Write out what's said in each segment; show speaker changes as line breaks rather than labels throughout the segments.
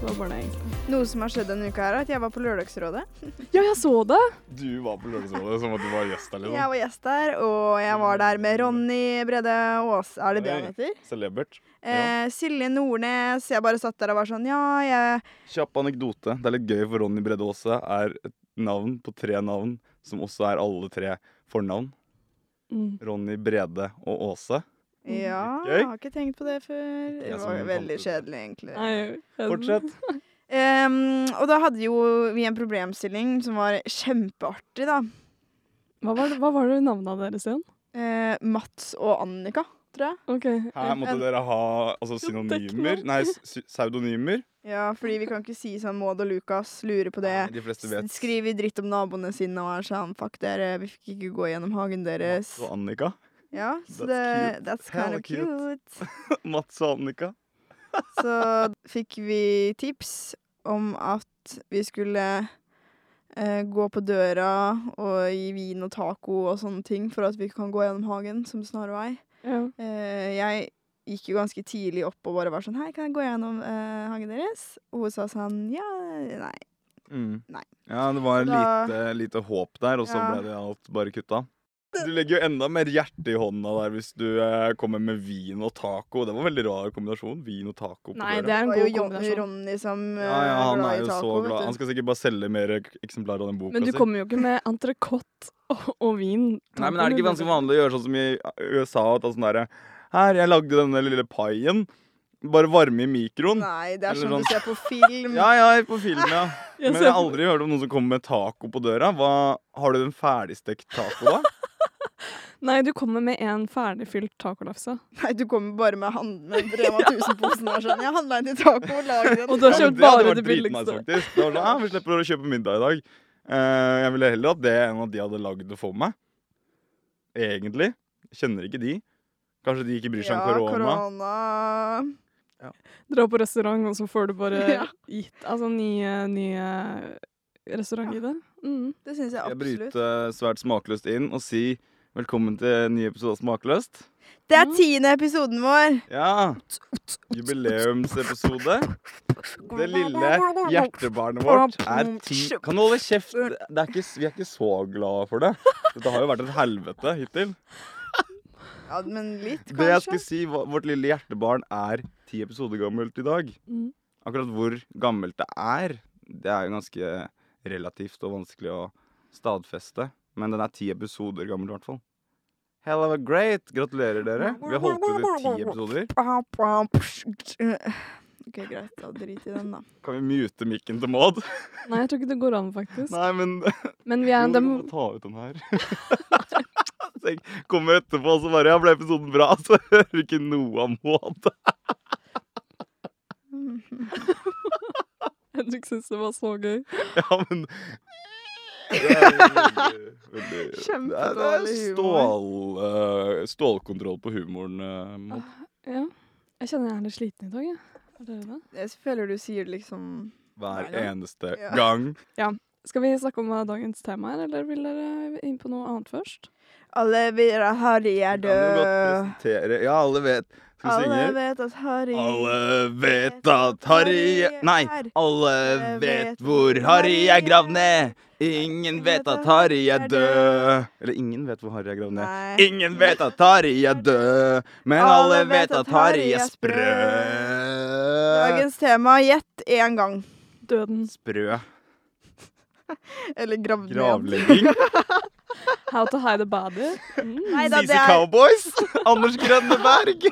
Det var bare det, egentlig.
Noe som har skjedd denne uka, her er at jeg var på Lørdagsrådet.
Ja, jeg så det!
Du var på Lørdagsrådet som at du var gjest der,
Jeg
liksom.
var gjest der, og jeg var der med Ronny Brede Aas. Er det det han
Oi.
heter?
Celebert. Ja.
Eh, Silje Nordnes. Jeg bare satt der og var sånn Ja, jeg
Kjapp anekdote. Det er litt gøy for Ronny Bredde Aase er et navn på tre navn som også er alle tre fornavn.
Mm.
Ronny Brede og Aase.
Ja,
Mm, Gøy.
jeg har ikke tenkt på det før.
Ikke jeg
Det
som
var
fant
veldig
ut det.
kjedelig, egentlig.
Nei, jeg-
Fortsett.
Ehm, og da hadde jo vi en problemstilling som var kjempeartig, da.
Hva var, det- hva var det navnet deres igjen?
Eh, Mats og Annika, tror jeg.
Ok.
Her måtte dere ha altså, synonymer. Nei, s- sy- pseudonymer.
Ja, fordi vi kan ikke si sånn Maud og Lukas lurer på det.
Nei, De fleste vet.
Skriver dritt om naboene sine og er sånn Fuck dere, vi fikk ikke gå gjennom hagen deres.
Mats og Annika.
Ja, så
That's
det,
cute.
that's kind
Hella
of
cute.
cute.
Mats og Annika.
Så fikk vi tips om at vi skulle eh, gå på døra og gi vin og taco og sånne ting for at vi kan gå gjennom hagen som snarvei.
Ja.
Eh, jeg gikk jo ganske tidlig opp og bare var sånn Hei, kan jeg gå gjennom eh, hagen deres? Og hun sa sånn Ja, nei.
Mm.
Nei.
Ja, det var
Da-
lite, lite håp der, og så
Ja.
ble det alt bare kutta. Du legger jo enda mer hjerte i hånda der hvis du eh, kommer med vin og taco. Det var en veldig rar kombinasjon. Vin og taco på
Nei, det
døra.
er en
Det var
god
jo Jon-
kombinasjon.
Ronny som eh,
Ja, ja, han
glad
er
i
jo så
taco, vet
glad.
du.
Han skal sikkert bare selge mer ek- eksemplarer av den boka
Men du
si.
kommer jo ikke med entrecôte og, og vin.
Nei, men er det ikke ganske vanlig å gjøre sånn som i USA? At det er sånn derre Her, jeg lagde denne lille paien. Bare varme i mikroen.
Nei, det er
Eller
sånn
sånn.
du ser på film.
Ja, ja, på film, ja.
Jeg
Men
ser
jeg har
på-
aldri hørt om noen som kommer med taco på døra. Hva, har du en ferdigstekt taco, da?
Nei, du kommer med en ferdigfylt tacolafse.
Nei, du kommer bare med, hand, med Rema 1000-posen og er sånn Jeg handla inn i taco, lag den.
Og du har
Ja, men
kjøpt bare
hadde
det
vært dritnice,
billigste.
faktisk. Det var sånn, ja, vi slipper å kjøpe middag i dag. Eh, jeg ville heller hatt det enn at de hadde lagd det for meg. Egentlig. Jeg Kjenner ikke de. Kanskje de ikke bryr seg om sånn korona.
korona.
Dra på restaurant, og så får du bare
Ja.
gitt altså nye, nye restaurant-ID. Mm.
Det syns jeg
Jeg
absolutt.
bryter eh, svært smakløst inn og si velkommen til en ny episode av Smakløst.
Det er tiende episoden vår.
Ja. Jubileumsepisode. Det lille hjertebarnet vårt er ti Kan du holde kjeft? Det er ikke, vi er ikke så glad for det. Dette har jo vært et helvete hittil.
Ja, men litt,
Det jeg
kanskje.
skulle si, var- vårt lille hjertebarn er ti episoder gammelt i dag.
Mm.
Akkurat hvor gammelt det er, det er jo ganske relativt og vanskelig å stadfeste. Men den er ti episoder gammel i hvert fall. Hell of a great! Gratulerer dere. Vi har holdt ut i ti episoder.
øh. OK, greit. Da drit i den, da.
Kan vi mute mikken til Maud?
Nei, jeg tror ikke det går an, faktisk.
Nei, men
Men vi er en
Jo, vi
dem...
må ta ut den her. Tenk, kommer etterpå og så bare Ja, ble episoden bra? Så hører vi ikke noe av Maud.
Mm.
Jeg tror ikke synes det var så gøy.
Ja, men det er veldig- veldig-
Kjempedårlig
Det er stål, eh, stålkontroll på humoren. eh, Maud.
Ja. Jeg kjenner jeg er litt sliten i dag, jeg. Er dere det?
Jeg føler du sier det liksom
Hver
Nei, ja.
eneste
Ja.
gang.
Skal vi snakke om hva dagens tema er, eller vil dere inn på noe annet først?
Alle vil at Harry er
Kan du godt
død.
presentere Ja, alle vet. Skal vi
Alle
synge?
vet at Harry
Alle vet at Harry er- Nei, alle vet hvor Harry er gravd ned. Ingen vet at Harry er død. Eller ingen vet hvor Harry er gravd ned.
Nei.
Ingen vet at Harry er død, men alle vet at Harry er sprø.
Dagens tema gjett én gang.
Døden.
Sprø
Eller gravd ned.
gravlegging.
How to hide a body. Mm.
Nei da,
CC
det er
Cowboys. Anders Grønneberg.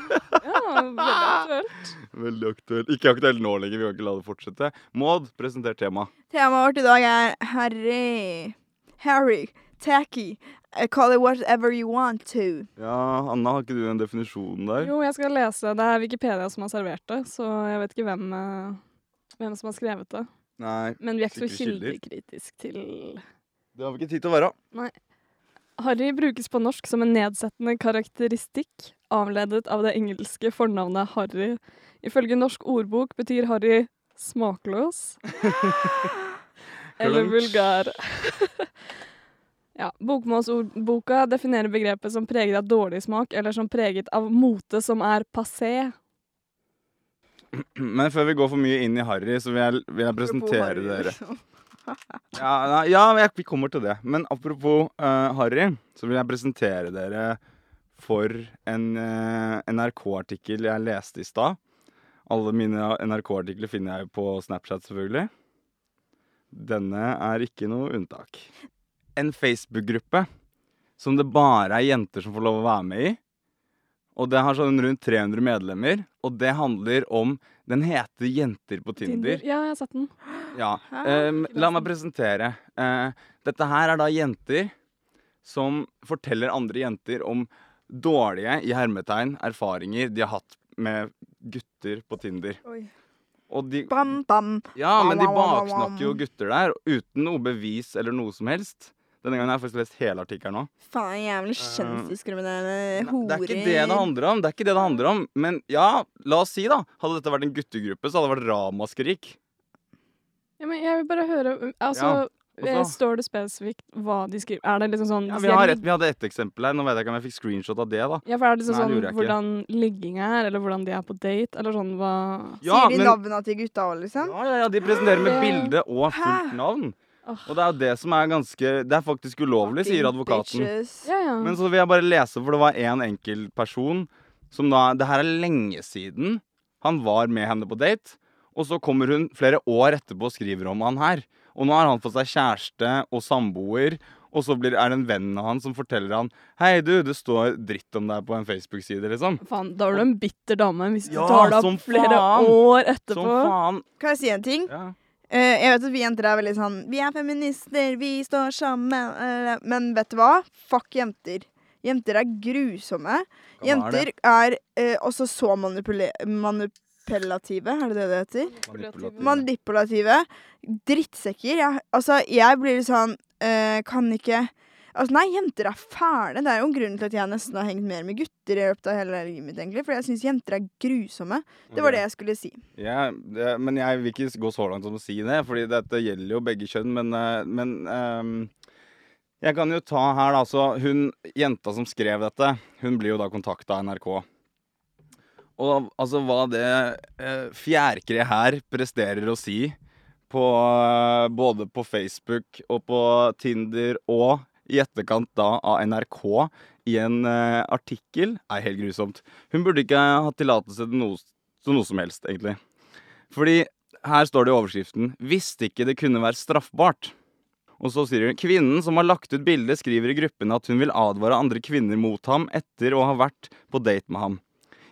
Ja, veldig aktuelt.
Veldig aktuelt. Ikke aktuelt nå lenger, vi kan ikke la det fortsette. Maud, presenter tema.
Temaet vårt i dag er Harry. Harry. Tacky. I call it whatever you want to.
Ja, Anna, har ikke du en definisjon der?
Jo, jeg skal lese. Det er Wikipedia som har servert det, så jeg vet ikke hvem, eh, hvem som har skrevet det.
Nei,
Men vi er ikke så
Sikre kilder.
kildekritiske til
det har vi ikke tid til å være.
Harry brukes på norsk som en nedsettende karakteristikk, avledet av det engelske fornavnet Harry. Ifølge norsk ordbok betyr Harry smakløs eller
Klunk.
vulgær. ja, Bokmålsordboka definerer begrepet som preget av dårlig smak, eller som preget av mote som er passé.
Men før vi går for mye inn i Harry, så vil jeg, vil jeg presentere
Apropos
dere.
Harry. liksom.
Ja, nei, ja men jeg, vi kommer til det. Men apropos eh, Harry, så vil jeg presentere dere for en eh, NRK-artikkel jeg leste i stad. Alle mine NRK-artikler finner jeg jo på Snapchat, selvfølgelig. Denne er ikke noe unntak. En Facebook-gruppe som det bare er jenter som får lov å være med i. Og det har sånn rundt 300 medlemmer, og det handler om Den heter Jenter på Tinder.
Ja, jeg har sett den.
Ja.
Hæ?
ehm, la meg presentere. Eh, dette her er da jenter som forteller andre jenter om dårlige i hermetegn, erfaringer de har hatt med gutter på Tinder.
Oi.
Og de,
Bam, bam.
ja, men de
Au, au, au, au, au.
baksnakker jo gutter der uten noe bevis eller noe som helst. Denne gangen har jeg faktisk lest hele artikkelen nå.
Faen, jævlig kjønnsdiskriminerende
Eh, Nei, Det
horer.
er ikke det det handler om. Det er ikke det det handler om. Men ja, la oss si, da. Hadde dette vært en guttegruppe, så hadde det vært ramaskrik.
Ja, men jeg vil bare høre Altså,
Ja, og så-
eh, står det spesifikt hva de skriver? Er det liksom sånn
Ja,
hvis
vi,
jeg
har
ligger-
et, vi hadde ett eksempel her. Nå vet jeg ikke om jeg fikk screenshot av det, da.
Ja, for er det liksom
Nei, det gjorde
sånn
jeg ikke.
hvordan ligginga er, eller hvordan de er på date, eller sånn hva
Sier
Ja,
de
men-
navnene til gutta òg, liksom?
Ja, ja, ja, de presenterer med
Hæ?
bilde og
Hæ?
fullt navn.
Åh.
Og det er jo det som er ganske Det er faktisk ulovlig, sier
Fucking
advokaten.
bitches.
Ja, ja.
Men så vil jeg bare lese, for det var en enkelt person som da Det her er lenge siden han var med henne på date, og så kommer hun flere år etterpå og skriver om han her. Og nå har han fått seg kjæreste og samboer, og så blir, er det en venn av han som forteller han Hei, du, det står dritt om deg på en Facebook-side, liksom.
Faen, da er du en bitter dame hvis du
Ja,
tar det
som
opp flere
faen.
år
Som
etterpå.
faen.
Kan jeg si en ting?
Ja.
Eh, jeg vet at vi jenter er veldig sånn Vi er feminister, vi står sammen eh, Men vet du hva? Fuck jenter. Jenter er grusomme.
Hva er
Jenter er eh, også så manipule manipulative, er det det det heter?
Manipulativ.
Manipulative. Drittsekker. Jeg, altså, jeg blir litt sånn eh, Kan ikke Altså, nei, jenter er fæle. Det er jo en grunn til at jeg nesten har hengt mer med gutter i løpet av hele livet mitt, egentlig. For jeg syns jenter er grusomme. Det var
Ok.
det jeg skulle si.
Ja, det, men jeg vil ikke gå så langt som å si det, fordi dette gjelder jo begge kjønn, men, eh, men ehm, jeg kan jo ta her, da. Så hun jenta som skrev dette, hun blir jo da kontakta av NRK. Og altså hva det eh, fjærkre her presterer å si, på, eh, både på Facebook og på Tinder og i etterkant da av NRK i en eh, artikkel, er helt grusomt. Hun burde ikke ha tillatelse til noe, til noe som helst, egentlig. Fordi her står det i overskriften 'Visste ikke det kunne være straffbart'. Og så sier hun 'Kvinnen som har lagt ut bildet, skriver i gruppen at hun vil advare andre kvinner mot ham etter å ha vært på date med ham.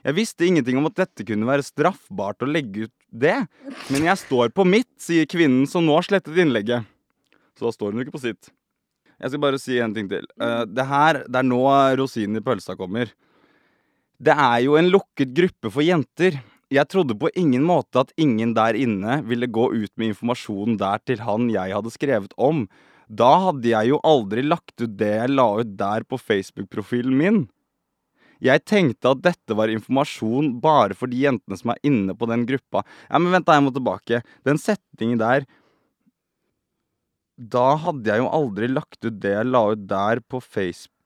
Jeg visste ingenting om at dette kunne være straffbart å legge ut det, men jeg står på mitt, sier kvinnen som nå har slettet innlegget. Så da står hun jo ikke på sitt. Jeg skal bare si en ting til. Eh, det her, det er nå rosinen i pølsa kommer. Det er jo en lukket gruppe for jenter. Jeg trodde på ingen måte at ingen der inne ville gå ut med informasjon der til han jeg hadde skrevet om. Da hadde jeg jo aldri lagt ut det jeg la ut der på Facebook-profilen min. Jeg tenkte at dette var informasjon bare for de jentene som er inne på den gruppa. Ja, men vent da, jeg må tilbake. Den setningen der Da hadde jeg jo aldri lagt ut det jeg la ut der på Facebook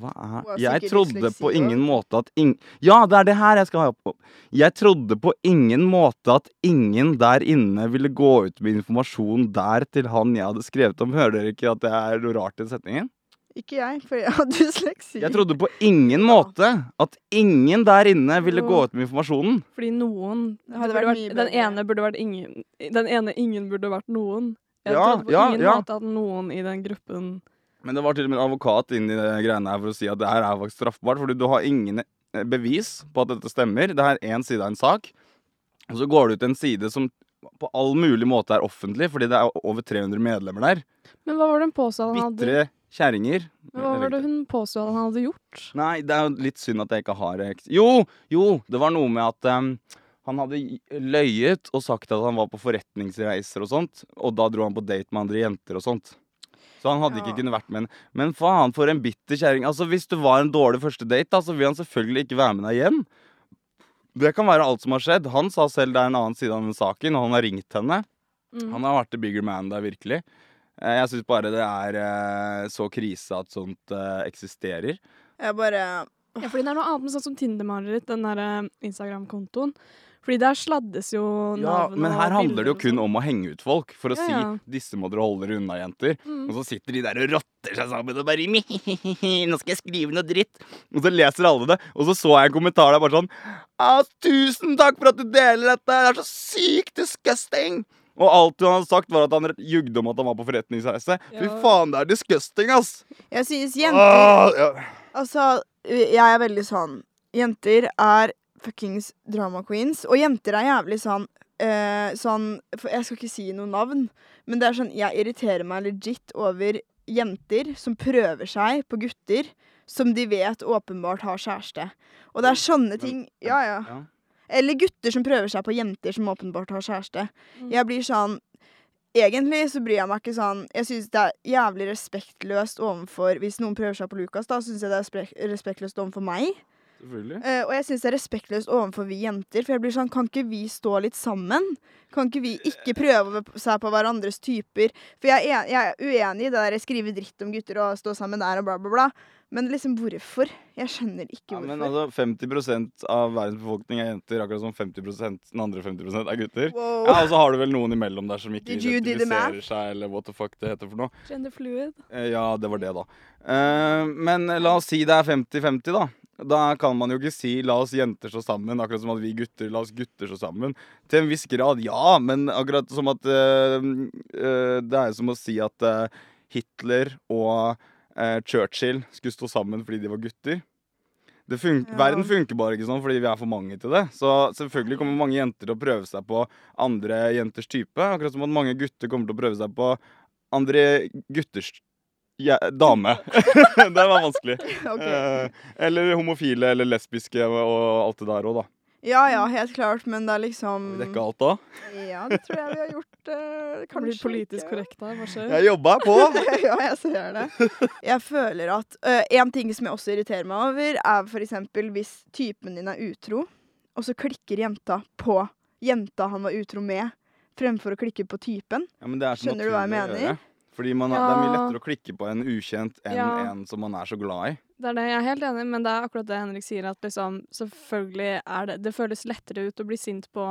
Hva
Hun er
er Jeg
sikkert
trodde
dysleksi
på
også.
ingen måte at ing... Ja, det er det her jeg skal ha opp. Jeg trodde på ingen måte at ingen der inne ville gå ut med informasjon der til han jeg hadde skrevet om. Hører dere ikke at det er noe rart i den setningen?
Ikke jeg, for jeg har dysleksi.
Jeg trodde på ingen måte at ingen der inne ville gå ut med informasjonen.
Fordi noen
Det hadde
det burde
vært mye
Den
bedre.
ene burde vært ingen. Den ene ingen burde vært noen. Jeg
Ja,
trodde på
ja,
ingen
ja.
måte at noen i den gruppen
Men det var til og med en advokat inn i det greiene her for å si at det her er faktisk straffbart, fordi du har ingen eh, bevis på at dette stemmer. Det her er én side av en sak. Og så går det ut en side som på all mulig måte er offentlig, fordi det er over 300 medlemmer der.
Men hva var det hun påstod han hadde,
Bitre kjerringer.
men hva var det hun påstod han hadde gjort?
Nei, det er jo litt synd at jeg ikke har eks- Jo, jo, det var noe med at em, han hadde i- løyet og sagt at han var på forretningsreiser og sånt, og da dro han på date med andre jenter og sånt. Så han hadde ikke
Ja.
kunnet vært med en Men faen, for en bitter kjerring. Altså, hvis du var en dårlig første date, da, så vil han selvfølgelig ikke være med deg igjen. Det kan være alt som har skjedd. Han sa selv det er en annen side av den saken, og han har ringt henne.
Mm.
Han har vært the bigger man der, virkelig. Eh, Jeg syns bare det er eh, så krise at sånt eh, eksisterer.
Jeg bare
Ja, fordi det er noe annet med sånn som Tinder-mareritt, den der eh, Instagram-kontoen. Fordi der sladdes jo
Ja,
navn
men
og
her handler det jo
bilder
kun
og sånn.
om å henge ut folk for å
Ja, ja.
si 'disse må dere holde dere unna, jenter'.
sånn.
Og
Mm.
så sitter de der og rotter seg sammen og bare «Mihihihi, 'Nå skal jeg skrive noe dritt'. Og så leser alle det, og så så jeg en kommentar der bare sånn «Ah, 'Tusen takk for at du deler dette, det er så sykt disgusting'. Og alt han hadde sagt, var at han jugde om at han var på forretningsreise. Fy
Ja.
faen, det er disgusting, ass!
Jeg synes jenter
Åh, ja.
Altså, jeg er veldig sånn Jenter er fuckings drama queens. Og jenter er jævlig sånn eh, Sånn for Jeg skal ikke si noe navn, men det er sånn Jeg irriterer meg legit over jenter som prøver seg på gutter som de vet åpenbart har kjæreste. Og det er sånne ting Ja, ja.
Ja.
Eller gutter som prøver seg på jenter som åpenbart har kjæreste.
Mm.
Jeg blir sånn Egentlig så bryr jeg meg ikke sånn Jeg syns det er jævlig respektløst overfor Hvis noen prøver seg på Lukas, da syns jeg det er spek- respektløst overfor meg.
Selvfølgelig.
Eh, og jeg syns det er respektløst overfor vi jenter, for jeg blir sånn Kan ikke vi stå litt sammen? Kan ikke vi ikke prøve seg på hverandres typer? For jeg er, en- jeg er uenig i det der skrive dritt om gutter og stå sammen der og bla, bla, bla. Men liksom, hvorfor? Jeg skjønner ikke
Ja,
hvorfor.
men altså, 50 av verdens befolkning er jenter, akkurat som 50 den andre 50 er gutter.
wow.
Ja, Og så har du vel noen imellom der som ikke
Did you do the
identifiserer
math?
seg, eller what the fuck det heter for noe.
Gender fluid.
Eh, Ja, det var det, da. Eh, Men la oss si det er 50-50, da. Da kan man jo ikke si 'la oss jenter stå sammen', akkurat som at vi gutter la oss gutter stå sammen. Til en viss grad, ja, men akkurat som at eh, eh, Det er jo som å si at eh, Hitler og eh, Churchill skulle stå sammen fordi de var gutter. Det fun
Ja.
Verden funker bare ikke sånn fordi vi er for mange til det. Så selvfølgelig kommer mange jenter til å prøve seg på andre jenters type. Akkurat som at mange gutter kommer til å prøve seg på andre gutters ja, dame. det var vanskelig.
Ok.
Eh, eller homofile eller lesbiske og alt det der òg, da.
Ja ja, helt klart, men det er liksom
Har Vi dekka alt da.
Ja, det tror jeg vi har gjort. eh,
Kan
kanskje
bli politisk
ikke.
korrekt der, hva skjer?
Jeg jobba på!
ja, jeg ser det. Jeg føler at eh, En ting som jeg også irriterer meg over, er for eksempel hvis typen din er utro, og så klikker jenta på jenta han var utro med, fremfor å klikke på typen.
Ja, men det er så
Skjønner du hva jeg
naturlig å
mener?
gjøre. Fordi man er, Det er mye
Ja.
lettere å klikke på en ukjent enn
Ja.
en som man er så glad i.
Det er det, Jeg er helt enig, men det er akkurat det Henrik sier. at liksom, selvfølgelig er Det det føles lettere ut å bli sint på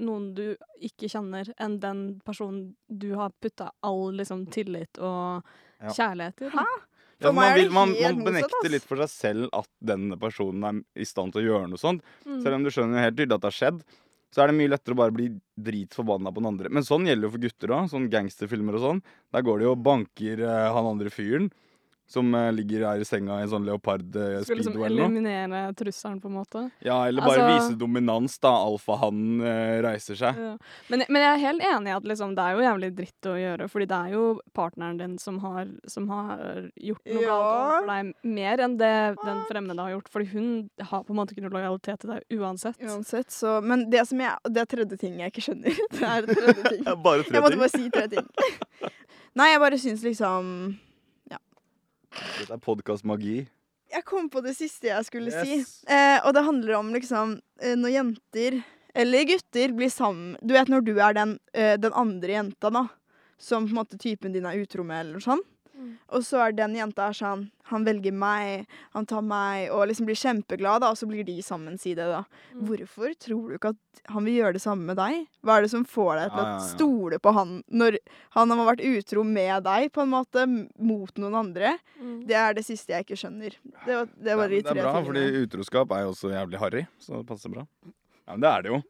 noen du ikke kjenner, enn den personen du har putta all liksom, tillit og
Ja.
kjærlighet i. da.
Ja,
For
for
meg
Altså, man,
er det
vil, man,
helt motsatt,
man
ass.
benekter litt for seg selv at denne personen er i stand til å gjøre noe sånt.
Mm.
Selv om du skjønner jo helt tydelig at det har skjedd, så er det mye lettere å bare bli dritforbanna på den andre. Men sånn gjelder jo for gutter òg. Sånn gangsterfilmer og sånn. Der går det jo og banker eh, han andre fyren som eh, ligger her i senga i en sånn
Skulle
leopard-speedo
liksom
eller noe.
eliminere trusselen, på en måte.
Ja, eller bare
Altså-
vise dominans, da. Alfahannen eh, reiser seg.
Ja. Men, men jeg er helt enig i at liksom, det er jo jævlig dritt å gjøre, fordi det er jo partneren din som har, som har gjort noe
Ja.
galt overfor deg, mer enn det den fremmede har gjort. Fordi hun har på en måte ikke noe lojalitet til deg uansett.
Uansett, så Men det som jeg Det er tredje ting jeg ikke skjønner. Det er tredje ting.
Det er bare tre
Jeg måtte
ting.
bare si tre ting. Nei, jeg bare syns liksom
Dette er podkastmagi.
Jeg kom på det siste jeg skulle
Yes.
si. Eh, og det handler om liksom eh, når jenter, eller gutter, blir sammen Du vet når du er den, eh, den andre jenta, da. Som på en måte typen din er utro med, eller noe sånt.
Mm.
Og så er den jenta er sånn Han velger meg, han tar meg, og liksom blir kjempeglad, da. Og så blir de sammen, si det, da.
Mm.
Hvorfor tror du ikke at han vil gjøre det samme med deg? Hva er det som får deg til
Ja, ja,
å
ja.
stole på han når han har vært utro med deg, på en måte, m- mot noen andre?
Mm.
Det er det siste jeg ikke skjønner. Det var, det var
Ja,
de tre
men Det er bra,
tingene.
fordi utroskap er jo også jævlig harry, så det passer bra. Ja, men det er det jo.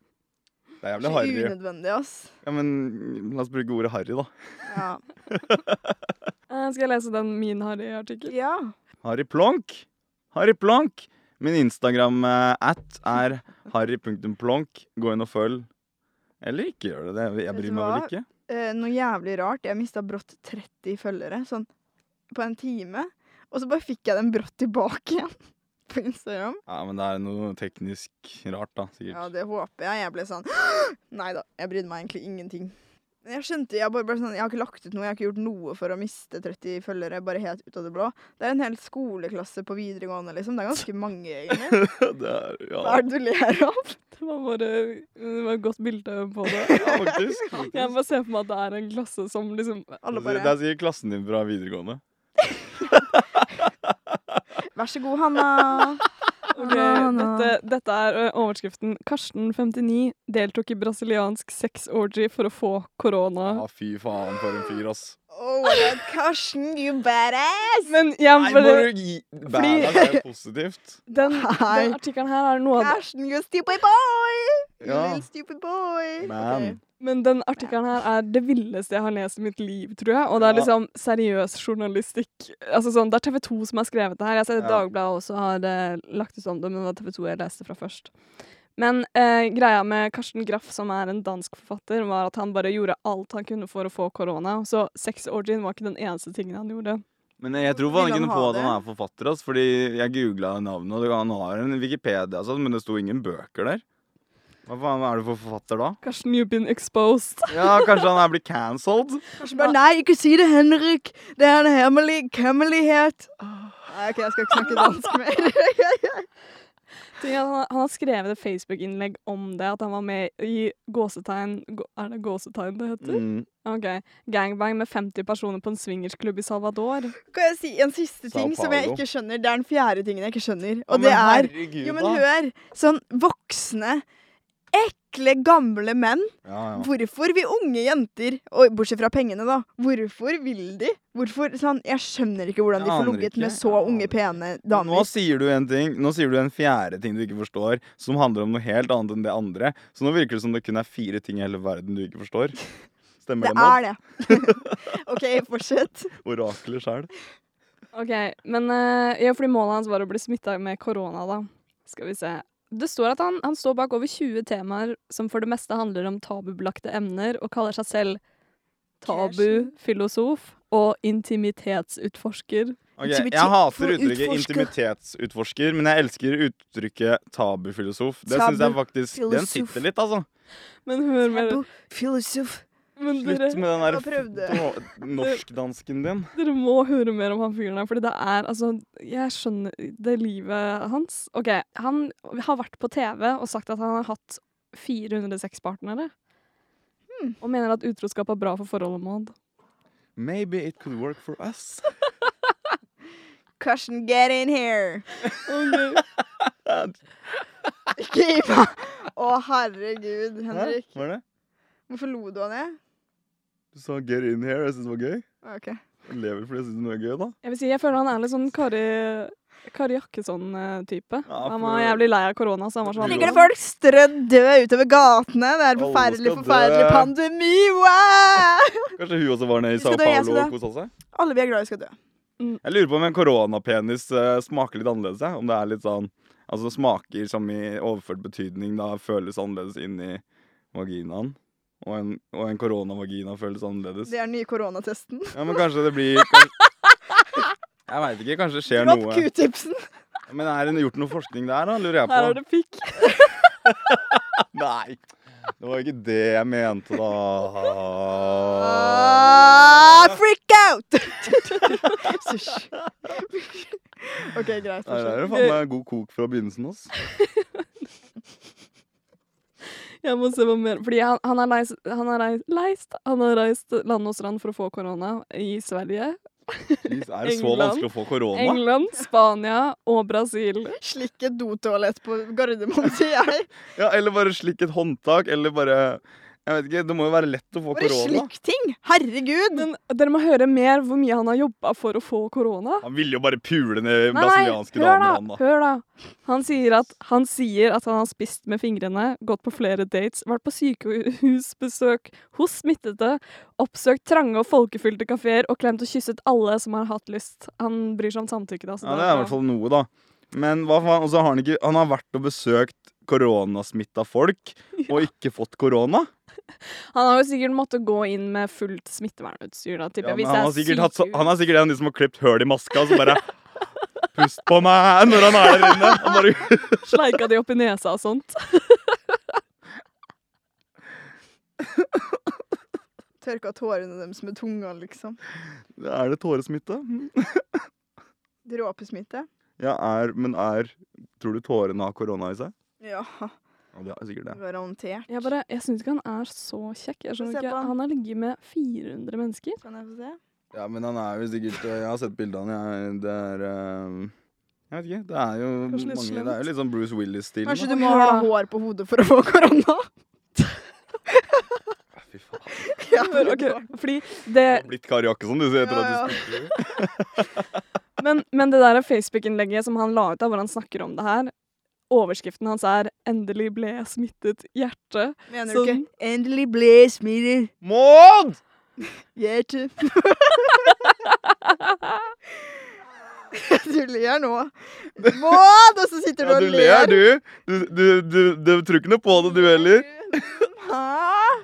Det er jævlig
Så
harry.
unødvendig, ass.
Ja, men la oss bruke ordet harry, da.
Ja.
Eh, Skal jeg lese den min Harry-artikkel?
ja.
Harry Plonk. Harry Plonk. Min Instagram-at er harry.plonk. Gå inn og følg. Eller ikke gjør det. det. Jeg
Vet
bryr
du
meg
hva?
vel ikke.
Eh, noe jævlig rart. Jeg mista brått 30 følgere, sånn på en time. Og så bare fikk jeg den brått tilbake igjen på Instagram.
Ja, Men det er noe teknisk rart, da.
Ja,
Sikkert.
det håper jeg. Jeg ble sånn Nei da, jeg brydde meg egentlig ingenting. Men Jeg skjønte, jeg bare ble sånn, jeg har ikke lagt ut noe, jeg har ikke gjort noe for å miste 30 følgere, bare helt ut av det blå. Det er en hel skoleklasse på videregående, liksom. Det er ganske mange, egentlig.
det er,
Hva
ja.
er det du ler av?
Det var bare det var et godt bilde på det.
ja, faktisk. faktisk.
Jeg bare ser for meg at det er en klasse som liksom
Alle
Det er
bare
sikkert klassen din fra videregående.
Vær så god, Hanna.
Ok, dette, dette er ø, overskriften. Karsten, 59, deltok i brasiliansk sexorgy for å få korona.
Ja, Ah, fy faen, for en fyr, ass.
Oh my god, Karsten, you badass!
Men jeg må
Nei,
bare
bare gi Badass er jo positivt.
Den,
Nei.
den artikkelen her er noe av det.
Karsten, you stupid boy!
Ja.
You little stupid boy!
Man.
Ok.
Men den artikkelen her er det villeste jeg har lest i mitt liv, tror jeg. Og det
Ja.
er liksom seriøs journalistikk. Altså sånn, Det er TV 2 som har skrevet det her. Jeg har sett at
Ja.
Dagbladet også har eh, lagt ut om det, men det var TV 2 jeg leste fra først. Men eh, greia med Karsten Graff, som er en dansk forfatter, var at han bare gjorde alt han kunne for å få korona. Så sexorgien var ikke den eneste tingen han gjorde.
Men jeg tror
Vil
faen ikke
han
noe på
ha
at han er forfatter, ass, fordi jeg googla navnet, og det- han har en Wikipedia, ass, men det sto ingen bøker der. Hva faen er du for forfatter da?
Karsten, you've been exposed.
Ja, kanskje han er blitt cancelled?
Karsten bare, nei, ikke si det, Henrik! Det er en hemmelig hemmelighet! Åh, Nei, ok, jeg skal ikke snakke dansk mer.
Ting er at Han, han har skrevet et Facebook-innlegg om det, at han var med i gåsetegn gå- Er det gåsetegn det heter?
Mm.
Ok. Gangbang med 50 personer på en swingersklubb i Salvador.
kan jeg si en siste
Sao
ting som jeg
Paulo.
ikke skjønner? Det er den fjerde tingen jeg ikke skjønner, og
Men
det er
herregud,
Jo, men
da.
hør. Sånn voksne, ekle, gamle menn.
Ja, ja.
Hvorfor vil unge jenter, og bortsett fra pengene, da, hvorfor vil de? Hvorfor, sånn, jeg skjønner ikke hvordan
Jeg
de får
aner
ligget
ikke,
med så
jeg aner
unge,
ikke.
pene
Nå
damer.
sier du en ting, nå sier du en fjerde ting du ikke forstår, som handler om noe helt annet enn det andre. Så nå virker det som det kun er fire ting i hele verden du ikke forstår. Stemmer
Det
det, Matt?
er det. OK, fortsett.
Oraklet sjæl.
Ok, men eh, ja, fordi målet hans var å bli smitta med korona, da. Skal vi se. Det står at han, han står bak over 20 temaer som for det meste handler om tabubelagte emner, og kaller seg selv tabufilosof og intimitetsutforsker.
Ok,
Intimitet-
jeg hater
for
uttrykket intimitetsutforsker, men jeg elsker uttrykket tabufilosof. Det syns jeg faktisk Den
Tabufilosof.
sitter litt, altså.
Men hør med
Tabu, filosof.
men dere,
Slutt med den der
Jeg prøvde.
f- nå- norskdansken din.
dere må høre mer om han fyren her, fordi det er altså Jeg skjønner det livet hans. OK, han har vært på TV og sagt at han har hatt 400 sexpartnere. Og mener at utroskap er bra for forholdet med han.
Maybe it could work for us.
Karsten, get in here.
Ok.
Ikke gi meg. Å, herregud,
Hæ?
Henrik.
Hva er det?
Hvorfor lo du av det?
Du sa 'get in here'. Jeg syns det var gøy.
OK.
Jeg lever fordi jeg syns det var gøy, da.
Jeg vil si, jeg føler han er litt sånn Kari, Kari Jakkesson-type.
Ja,
han
for-
var jævlig lei av korona, så han var sånn
Ligger det folk strødd døde utover gatene? Det er en
Alle
forferdelig,
skal
forferdelig
dø.
pandemi! Wow!
Kanskje hun også var nede i
Vi skal
Sao
dø, jeg skal
Paulo og
dø.
kosa seg?
Alle vi er glad i, skal dø.
Jeg lurer på om en koronapenis eh, smaker litt annerledes. jeg. Om det er litt sånn Altså smaker som i overført betydning da føles annerledes inni vaginaen. Og en, og en koronavagina føles annerledes.
Det er den nye koronatesten.
Ja, men kanskje det blir kanskje, Jeg veit ikke. Kanskje det skjer
Dropp
noe.
q-tipsen!
Men er det gjort noe forskning der, da? Lurer jeg på.
Her er det pikk.
Nei. Det var ikke det jeg mente, da.
Ah, freak out! Sush. OK, greit.
Nei, Det er
fortsett.
jo faen meg god kok fra begynnelsen, ass.
Jeg må se hva mer Fordi han, han har leist, han har reist, leist Han har reist land og strand for å få korona i Sverige,
Jeez, er det så
England.
vanskelig å få korona?
England, Spania og Brasil.
Slikk et dotoalett på Gardermoen, sier jeg.
Ja, eller bare slikk et håndtak, eller bare Jeg vet ikke, det må jo være lett å få
Bare
korona.
slikk ting! Herregud!
Men dere må høre mer hvor mye han har jobba for å få korona.
Han ville jo bare pule ned
Nei, nei,
brasilianske
hør
damer,
da,
han da.
hør da. Han sier, at, han sier at han har spist med fingrene, gått på flere dates, vært på sykehusbesøk hos smittede, oppsøkt trange og folkefylte kafeer og klemt og kysset alle som har hatt lyst. Han bryr seg om samtykke, da. så
Ja, det er i
bra.
hvert fall noe, da. Men hva faen, og så har han ikke Han har vært og besøkt koronasmitta folk, og ikke fått korona.
Han har jo sikkert måttet gå inn med fullt smittevernutstyr, da, tipper jeg.
Ja, men
hvis
han, har
det er
sikkert hatt, så-
sykehus.
han er sikkert en av de som har klippet høl i maska, og så bare Pust på meg når han er der inne. Han bare
Sleika de opp i nesa og sånt.
Tørka tårene deres med tunga, liksom.
Er det tåresmitte?
Dråpesmitte.
Ja, er Men er Tror du tårene har korona i seg?
Ja,
Ja, det er sikkert det.
garantert.
Jeg bare, jeg syns ikke han er så kjekk. Jeg
Se
skjønner
på
ikke.
han.
Han har ligget med 400 mennesker.
Kan jeg få se?
Ja, men han er jo sikkert Jeg har sett bildene. Jeg, det er eh, Jeg vet ikke. Det er jo
Kanskje litt
mange
slemt.
Det er jo litt sånn Bruce Willis-stil.
Kanskje
Oi,
du må
hør
ha
da.
hår på hodet for å få korona?
da. Fy faen.
Ja,
Men, ok, fordi det,
Du har blitt Kari Jakkesson, du, sier etter
Ja,
at du spilte.
Men, men det der Facebook-innlegget som han la ut, da, hvor han snakker om det her Overskriften hans er 'Endelig ble jeg smittet hjerte'.
Mener du
Sånn.
ikke? Endelig ble smidig
Maud!
hjerte. du ler nå. Maud! Og så sitter du
Ja,
og
du ler,
ler.
du. Du, du, du, du tror ikke noe på det, du heller.
Hæ?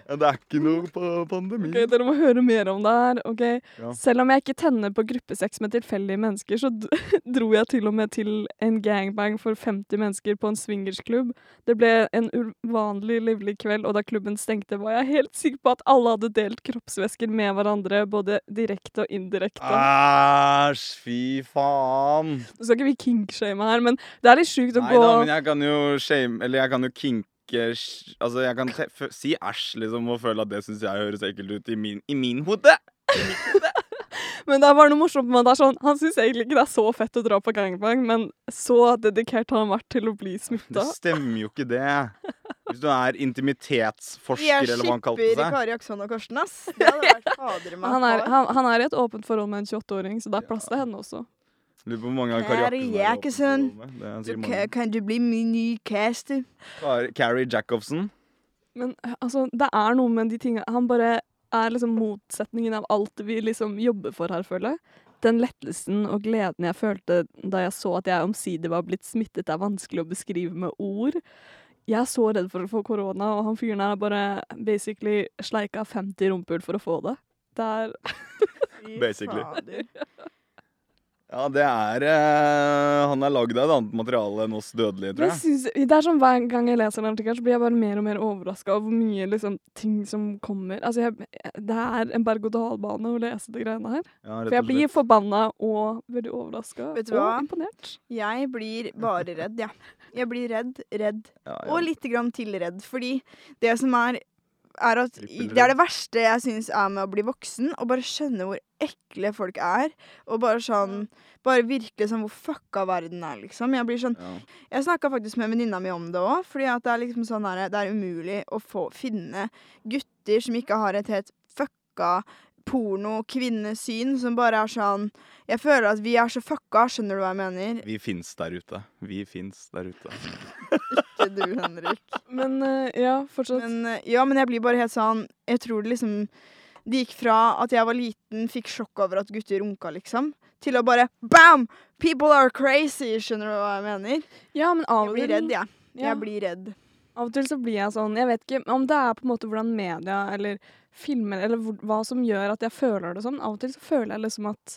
Ja, det er ikke noe pa- pandemi.
Ok, Dere må høre mer om det her. ok?
Mm. Ja.
Selv om jeg ikke tenner på gruppesex med tilfeldige mennesker, så d- dro jeg til og med til en gangbang for 50 mennesker på en swingersklubb. Det ble en uvanlig livlig kveld, og da klubben stengte, var jeg helt sikker på at alle hadde delt kroppsvæsker med hverandre, både direkte og indirekte.
Ah, Æsj, fy faen.
Nå skal ikke vi kinkshame her, men det er litt sjukt å
Nei
gå
da, men jeg kan jo shame Eller jeg kan jo kinke sj- Altså, jeg kan te- fø- si æsj, liksom, og føle at det syns jeg høres ekkelt ut i min, i min hode.
Men det er bare noe morsomt med det. er sånn, Han syns egentlig ikke det er så fett å dra på gangbang, men så dedikert har han vært til å bli
Det
smitta.
stemmer jo ikke, det. Hvis du er
Jeg
intimitetsforsker, eller hva han kalte
skipper
seg.
Kari Jaksson og Karsten, ass. Det hadde vært fader meg
Han, er-
par.
han, han er i et åpent forhold med en 28-åring, så det er plass til henne også.
Lurer på hvor mange av
Kari
Kari
Jakkesson.
Jakkesson er i åpent forhold med. Det er
Så
sikkert
ka-
mange.
kan du bli min nye caster?
Kari- Carrie Jacobsen.
Men eh, altså, det er noe med de tinga Han bare er liksom motsetningen av alt vi liksom jobber for her, føler jeg. Den lettelsen og gleden jeg følte da jeg så at jeg omsider var blitt smittet, er vanskelig å beskrive med ord. Jeg er så redd for å få korona, og han fyren her har bare basically sleika 50 rumpehull for å få det. Det er
Fy
Basically.
fader.
Ja, det er eh, Han er lagd av et annet materiale enn oss dødelige, tror
Men
jeg.
synes, det er sånn Hver gang jeg leser den artikkelen, så blir jeg bare mer og mer overraska over hvor mye liksom, ting som kommer. Altså, jeg, det er en berg-og-dal-bane å lese de greiene her.
Ja, rett
For jeg
og
blir
slett.
forbanna og veldig overraska
Vet
og
du hva?
imponert.
Jeg blir bare redd, jeg. Ja. Jeg blir redd, redd
Ja, ja.
og litt grann til redd. Fordi det som er, er at
Trippelredd.
det er det verste jeg syns er med å bli voksen. Å bare skjønne hvor ekle folk er. Og bare sånn Bare virkelig sånn hvor fucka verden er, liksom. Jeg blir sånn
Ja.
jeg snakka faktisk med venninna mi om det òg, fordi at det er liksom sånn her, det er umulig å få, finne gutter som ikke har et helt fucka porno-kvinnesyn, som bare er sånn Jeg føler at vi er så fucka, skjønner du hva jeg mener?
Vi fins der ute. Vi fins der ute.
Ikke du, Henrik.
Men eh, ja, fortsatt.
Men, eh, ja, men jeg blir bare helt sånn Jeg tror det liksom Det gikk fra at jeg var liten, fikk sjokk over at gutter runka, liksom, til å bare bam! People are crazy, skjønner du hva jeg mener?
ja, men av
Jeg
og
blir
til
redd, jeg.
ja,
Jeg blir redd.
Av og til så blir jeg sånn Jeg vet ikke om det er på en måte hvordan media eller filmer eller hvor, hva som gjør at jeg føler det sånn. Av og til så føler jeg liksom at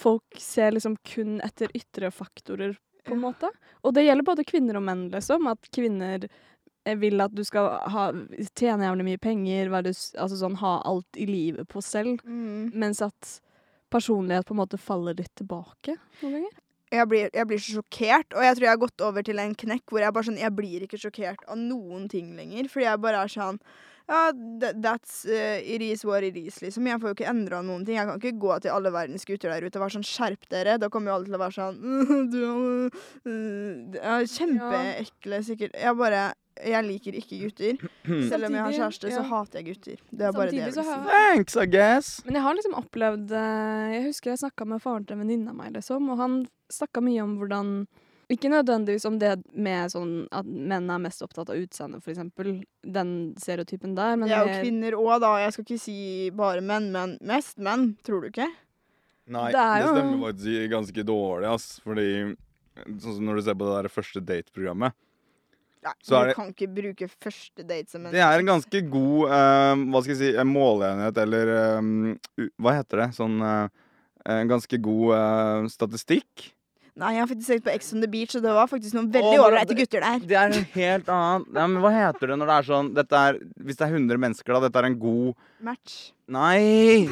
folk ser liksom kun etter ytre faktorer, på en måte. Og det gjelder både kvinner og menn, liksom. At kvinner eh, vil at du skal ha, tjene jævlig mye penger, være, s- altså sånn ha alt i livet på selv.
Mm.
Mens at personlighet på en måte faller litt tilbake noen ganger.
jeg blir, jeg blir så sjokkert, og jeg tror jeg har gått over til en knekk hvor jeg bare sånn, jeg blir ikke sjokkert av noen ting lenger, fordi jeg bare er sånn, ja, tha- that's uh, it is what it is, liksom. Jeg får jo ikke endret noen ting. Jeg kan ikke gå til alle verdens gutter der ute og være sånn, skjerp dere. Da kommer jo alle til å være sånn, du er, mm, det er kjempeekle, sikkert. Jeg bare, jeg liker ikke gutter. Selv om jeg har
Samtidig,
kjæreste,
ja.
så hater jeg gutter. Det er bare det
Samtidig
jeg
så
vil si.
har-
Thanks, I guess.
Men jeg har liksom opplevd eh, Jeg husker jeg snakka med faren til en venninne av meg, liksom, og han snakka mye om hvordan ikke nødvendigvis om det med sånn at menn er mest opptatt av utseendet, for eksempel. Den stereotypen der. Men
Det er jo
mer-
kvinner også da, jeg skal ikke si bare menn, men mest menn, tror du ikke?
Nei,
Det
det,
er jo-
stemmer faktisk ganske dårlig, ass. Fordi sånn som når du ser på det der første date-programmet
Nei,
Så er
du
det-
kan ikke bruke første date som en
Det er en ganske god eh, hva skal jeg si, en måleenhet, eller eh, u- hva heter det? Sånn eh, en ganske god eh, statistikk.
Nei, jeg har faktisk sett på Ex on the Beach, og det var faktisk noen veldig
Å, men
ålreite
det-
gutter der.
Det er en helt annen Nei, men Hva heter det når det er sånn dette er, Hvis det er 100 mennesker, da. Dette er en god
Match.
Nei!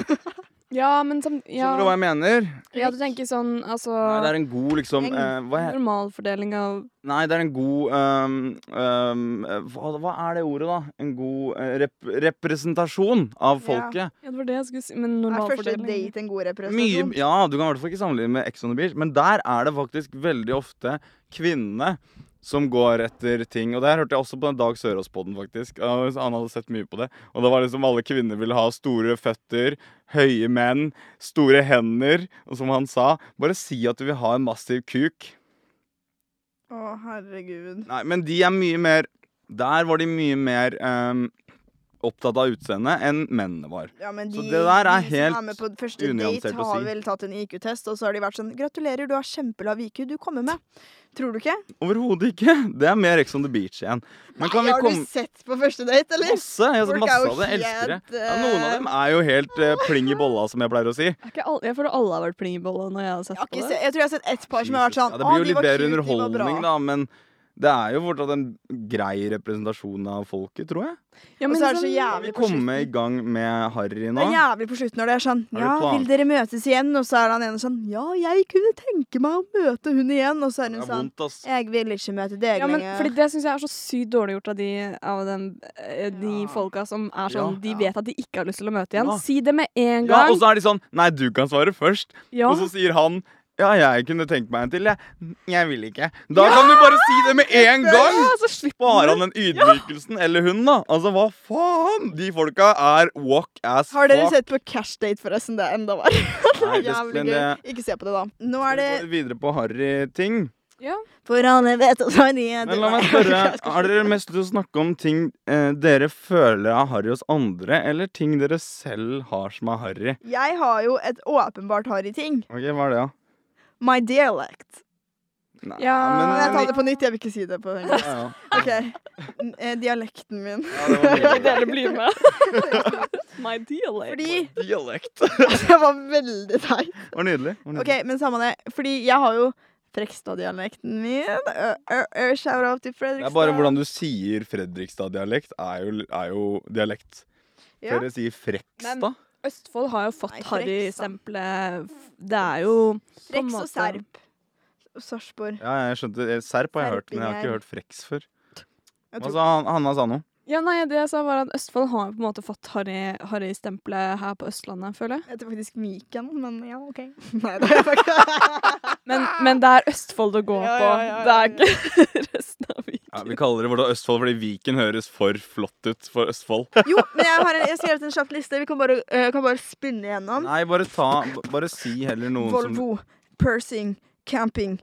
Ja, men som, ja,
Skjønner du hva jeg mener?
ja, du tenker sånn, altså
Nei, det er en god liksom
En-
eh, hva, he-
Normalfordeling av
Nei, det er en god øhm, øhm, eh, hva, hva er det ordet, da? En god eh, rep representasjon
Ja.
av folket.
Ja, det var det jeg skulle si. Men
Er første
normalfordeling.
date en god
Mye,
representasjon?
ja, Du kan i hvert fall ikke sammenligne med Ex on the Beach, men der er det faktisk veldig ofte kvinnene som går etter ting. Og der hørte jeg også på den Dag Sørås-poden, faktisk. Og Han hadde sett mye på det. Og det var liksom alle kvinner ville ha store føtter, høye menn, store hender. Og som han sa, bare si at du vil ha en massiv kuk.
Å, herregud.
Nei, men de er mye mer Der var de mye mer ehm, opptatt av utseendet enn mennene var.
Ja, men de,
Så det der er
de som
helt
er med på første date,
unyansert å
har
si.
vel tatt en IQ-test, og så har de vært sånn 'Gratulerer, du har kjempelav IQ. Du kommer med.' Tror du ikke?
Overhodet ikke. Det er mer Ex on the Beach igjen. Men kan
Nei,
vi
har
komme
du sett på første date, eller?
Masse! Jeg har sett
Folk er
masse
jo
av det. Jeg Elsker det.
helt,
Ja, noen av
eh,
dem er jo helt eh, pling i bolla, som jeg pleier å si.
Er ikke alle, jeg føler alle har vært plingebolle når jeg har sett
Jeg, har
på
ikke
det.
se, jeg tror jeg har sett ett par som har vært
Jesus.
sånn
ja, det blir
«Å,
jo
de
litt
var
bedre
cute, de var bra».
underholdning, da, men det er jo fortsatt en grei representasjon av folket, tror jeg.
Ja,
Og
men
så er det så
sånn-
Kan vi
jævlig på slutten.
komme i gang med Harry
Det
nå?
er jævlig på slutten når det er sånn
Har du
Ja,
plan-
vil dere møtes igjen? Og så er han ene sånn Ja, jeg kunne tenke meg å møte hun igjen. Og så er
Det
hun
er
sånn
vondt, ass.
Jeg vil ikke møte deg
Ja, men
lenger.
fordi Det syns jeg er så sykt dårlig gjort av de, av den, eh, de
Ja.
folka som er
Ja.
sånn De vet at de ikke har lyst til å møte igjen.
Ja.
Si det med en
Ja,
gang.
og så er de sånn Nei, du kan svare først.
Ja.
Og så sier han ja, jeg kunne tenkt meg en til, jeg. Jeg vil ikke. Da kan du bare si det med en gang!
Ja, så slipper
Sparer
man det.
han den ydmykelsen, eller hun, da? Altså, hva faen? De folka er walk as
Har dere
fuck.
sett på Cash Date, forresten? Det er enda verre. Det
Nei,
er
det-
Jævlig
men
gøy.
det-
Ikke se på det, da. Nå
Skal
er det
vi gå videre på harry-ting?
For alle vet at han er
Men la meg spørre, har dere mest lyst til å snakke om ting eh, dere føler er harry hos andre, eller ting dere selv har som er harry?
Jeg har jo et åpenbart harry-ting.
Ok, hva er det, da?
My dialect.
Nei,
Ja,
Men jeg
men-
tar det på nytt. Jeg vil ikke si det på engelsk.
ja, ja.
OK. N- eh, Dialekten min.
Ja, det var
Det er
mye.
det blir med. My dialect.
Fordi
Dialekt.
Det var veldig teit.
Det var nydelig. Det var nydelig.
OK, men samme det. Fordi jeg har jo Frekstad-dialekten min. Ø, ø, ø, Shout out til
Det
Fredrikstad.
er bare hvordan du sier Fredrikstad-dialekt, er, jo- er jo dialekt.
Ja.
Dere sier Frekstad.
Østfold har jo fått
Nei, Frekstad.
harry-stempelet. Det er jo på en
Freks og
måte-
Serb. Og Sarpsborg.
Ja, jeg skjønte. eh, Serp har jeg hørt, men jeg har ikke
Serpinger.
hørt Freks før.
Jeg
Hva
tror-
sa han, Hanna sa noe?
Ja, nei, det jeg sa var at Østfold har på en måte fått harry- harry-stempelet her på Østlandet, føler jeg.
Jeg heter faktisk Miken, men ja, OK. Nei, det er jeg ikke.
Men, men det er Østfold å gå
Ja,
på.
ja, ja,
Det er ikke resten av Viken.
Ja, vi kaller det Vårdal Østfold fordi Viken høres for flott ut for Østfold.
Jo, men jeg har, en, jeg har skrevet en kjapp liste. Vi kan bare, eh, kan bare spinne gjennom.
Nei, bare ta b- Bare si heller noen som
Volvo, pursing, camping,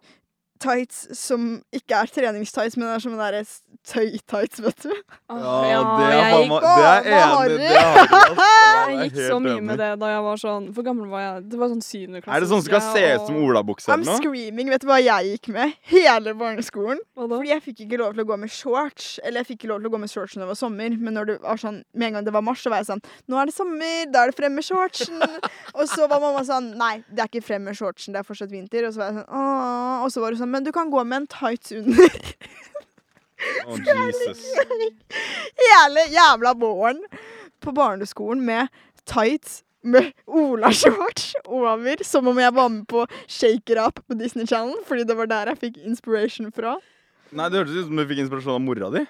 tights som ikke er treningstights, men er som en derre s- tøy-tights, vet du.
Åh,
det er
jeg,
faen meg Det er
faen meg
enig. Det er harry, ass.
jeg
Jeg er
gikk
helt
så mye
enig.
med det da jeg var sånn Hvor gammel var jeg? Det var sånn syvende klasse.
Er det sånn som skal
husker
se
jeg,
ut
og-
som olabukse
I'm
eller noe?
screaming. Vet du hva jeg gikk med hele barneskolen?
Hva da?
Fordi jeg fikk ikke lov til å gå med shorts. Eller jeg fikk ikke lov til å gå med shorts når det var sommer, men når det var sånn, med en gang det var mars, så var jeg sånn Nå er det sommer, da er det frem med shortsen. og så var mamma sånn Nei, det er ikke frem med shortsen, det er fortsatt vinter. Og så var jeg sånn Åh. Og så var hun sånn Men du kan gå med en tights under
Å, Jesus.
hele jævla våren på barneskolen med tights med olashorts over, som om jeg var med på Shake It Up på Disney Channel, fordi det var der jeg fikk inspiration fra.
Nei, det hørtes ut som du fikk inspirasjon av mora di.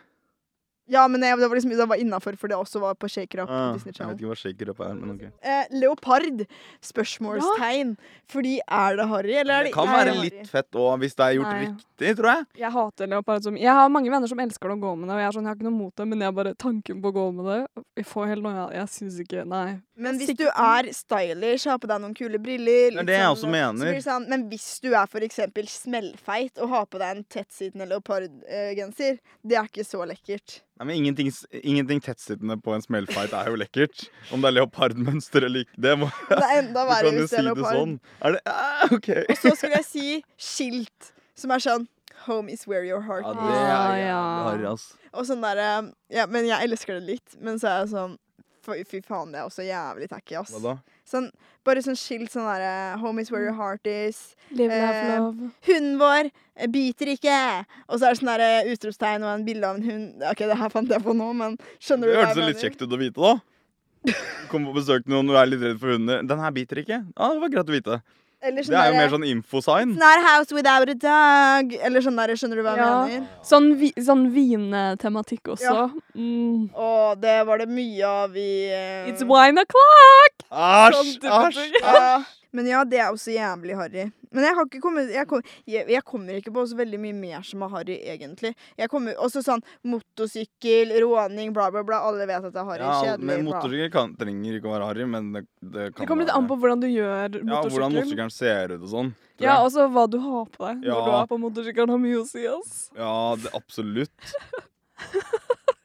Ja, men jeg, det var liksom det var innafor, for det også var på Shake It Up
Ah,
på
jeg
Disney
vet
Channel.
ikke hva shaker up er, men ok.
Eh, leopard? Spørsmålstegn. Fordi er det harry, eller er
Det
det
kan
ikke
være
harry?
litt fett òg, hvis det er gjort
Nei.
riktig, tror jeg.
Jeg hater leopard som Jeg har mange venner som elsker det å gå med det, og jeg er sånn, jeg har ikke noe mot det, men jeg bare tanken på å gå med det Jeg får helt noe Jeg, jeg syns ikke Nei.
Men hvis du er stylish, har på deg noen kule briller
Det er
litt
det jeg
sånn,
også mener.
så blir det sånn, Men hvis du er for eksempel smellfeit og har på deg en tettsittende leopardgenser, det er ikke så lekkert.
Nei, men Ingenting, s- ingenting tettsittende på en smellfight er jo lekkert. Om det er leopardmønster eller ikke, det må
Det er enda
Du
verre
kan jo
hvis det
si
er
det
leopard.
sånn. Er det ah, OK.
Og så skulle jeg si skilt, som er sånn Home is where your heart
Ja,
is.
det er
Ah, ja.
jævlig harry, ass.
Og sånn derre Ja, men jeg elsker det litt, men så er jeg sånn Fy fy faen, det er også jævlig tacky, ass.
Hva da?
Sånn, bare sånn skilt sånn derre Home is where your heart is.
Live,
Eh,
laugh, love.
Hunden vår eh, biter ikke! Og så er det sånn der, eh, utropstegn og en bilde av en hund. Ok, det her fant jeg på nå, men skjønner
Det
du hva
hørtes
jeg
jo
mener?
litt kjekt ut å vite, da. Kom på besøk til noen og er litt redd for hunder. 'Den her biter ikke.' Ja, det var greit å vite.
Eller
Det er jo
derre-
mer sånn infosign.
It's not a house without a dog. Eller sånn der, skjønner du hva jeg
Ja.
mener?
Sånn, vi, sånn vinetematikk også.
Ja.
Mm.
Og det var det mye av i eh,
It's wine o'clock!
Æsj!
Sånn type
Æsj!
ting.
ja. Men ja, det er også jævlig harry. Men jeg har ikke kommet jeg, kom, jeg, jeg kommer ikke på så veldig mye mer som er harry, egentlig. Jeg kommer også sånn motorsykkel, råning, bla, bla, bla. Alle vet at det er harry.
Ja,
kjedelig.
men
bla.
motorsykkel kan- trenger ikke å være harry, men det, det kan
Det kommer litt
være
an på hvordan du gjør
Ja, hvordan
motorsykkelen.
motorsykkelen ser ut og sånn. tror
Ja,
jeg.
også hva du har på deg
Ja.
når du er på motorsykkelen. har mye å si, ass.
Ja, det, absolutt.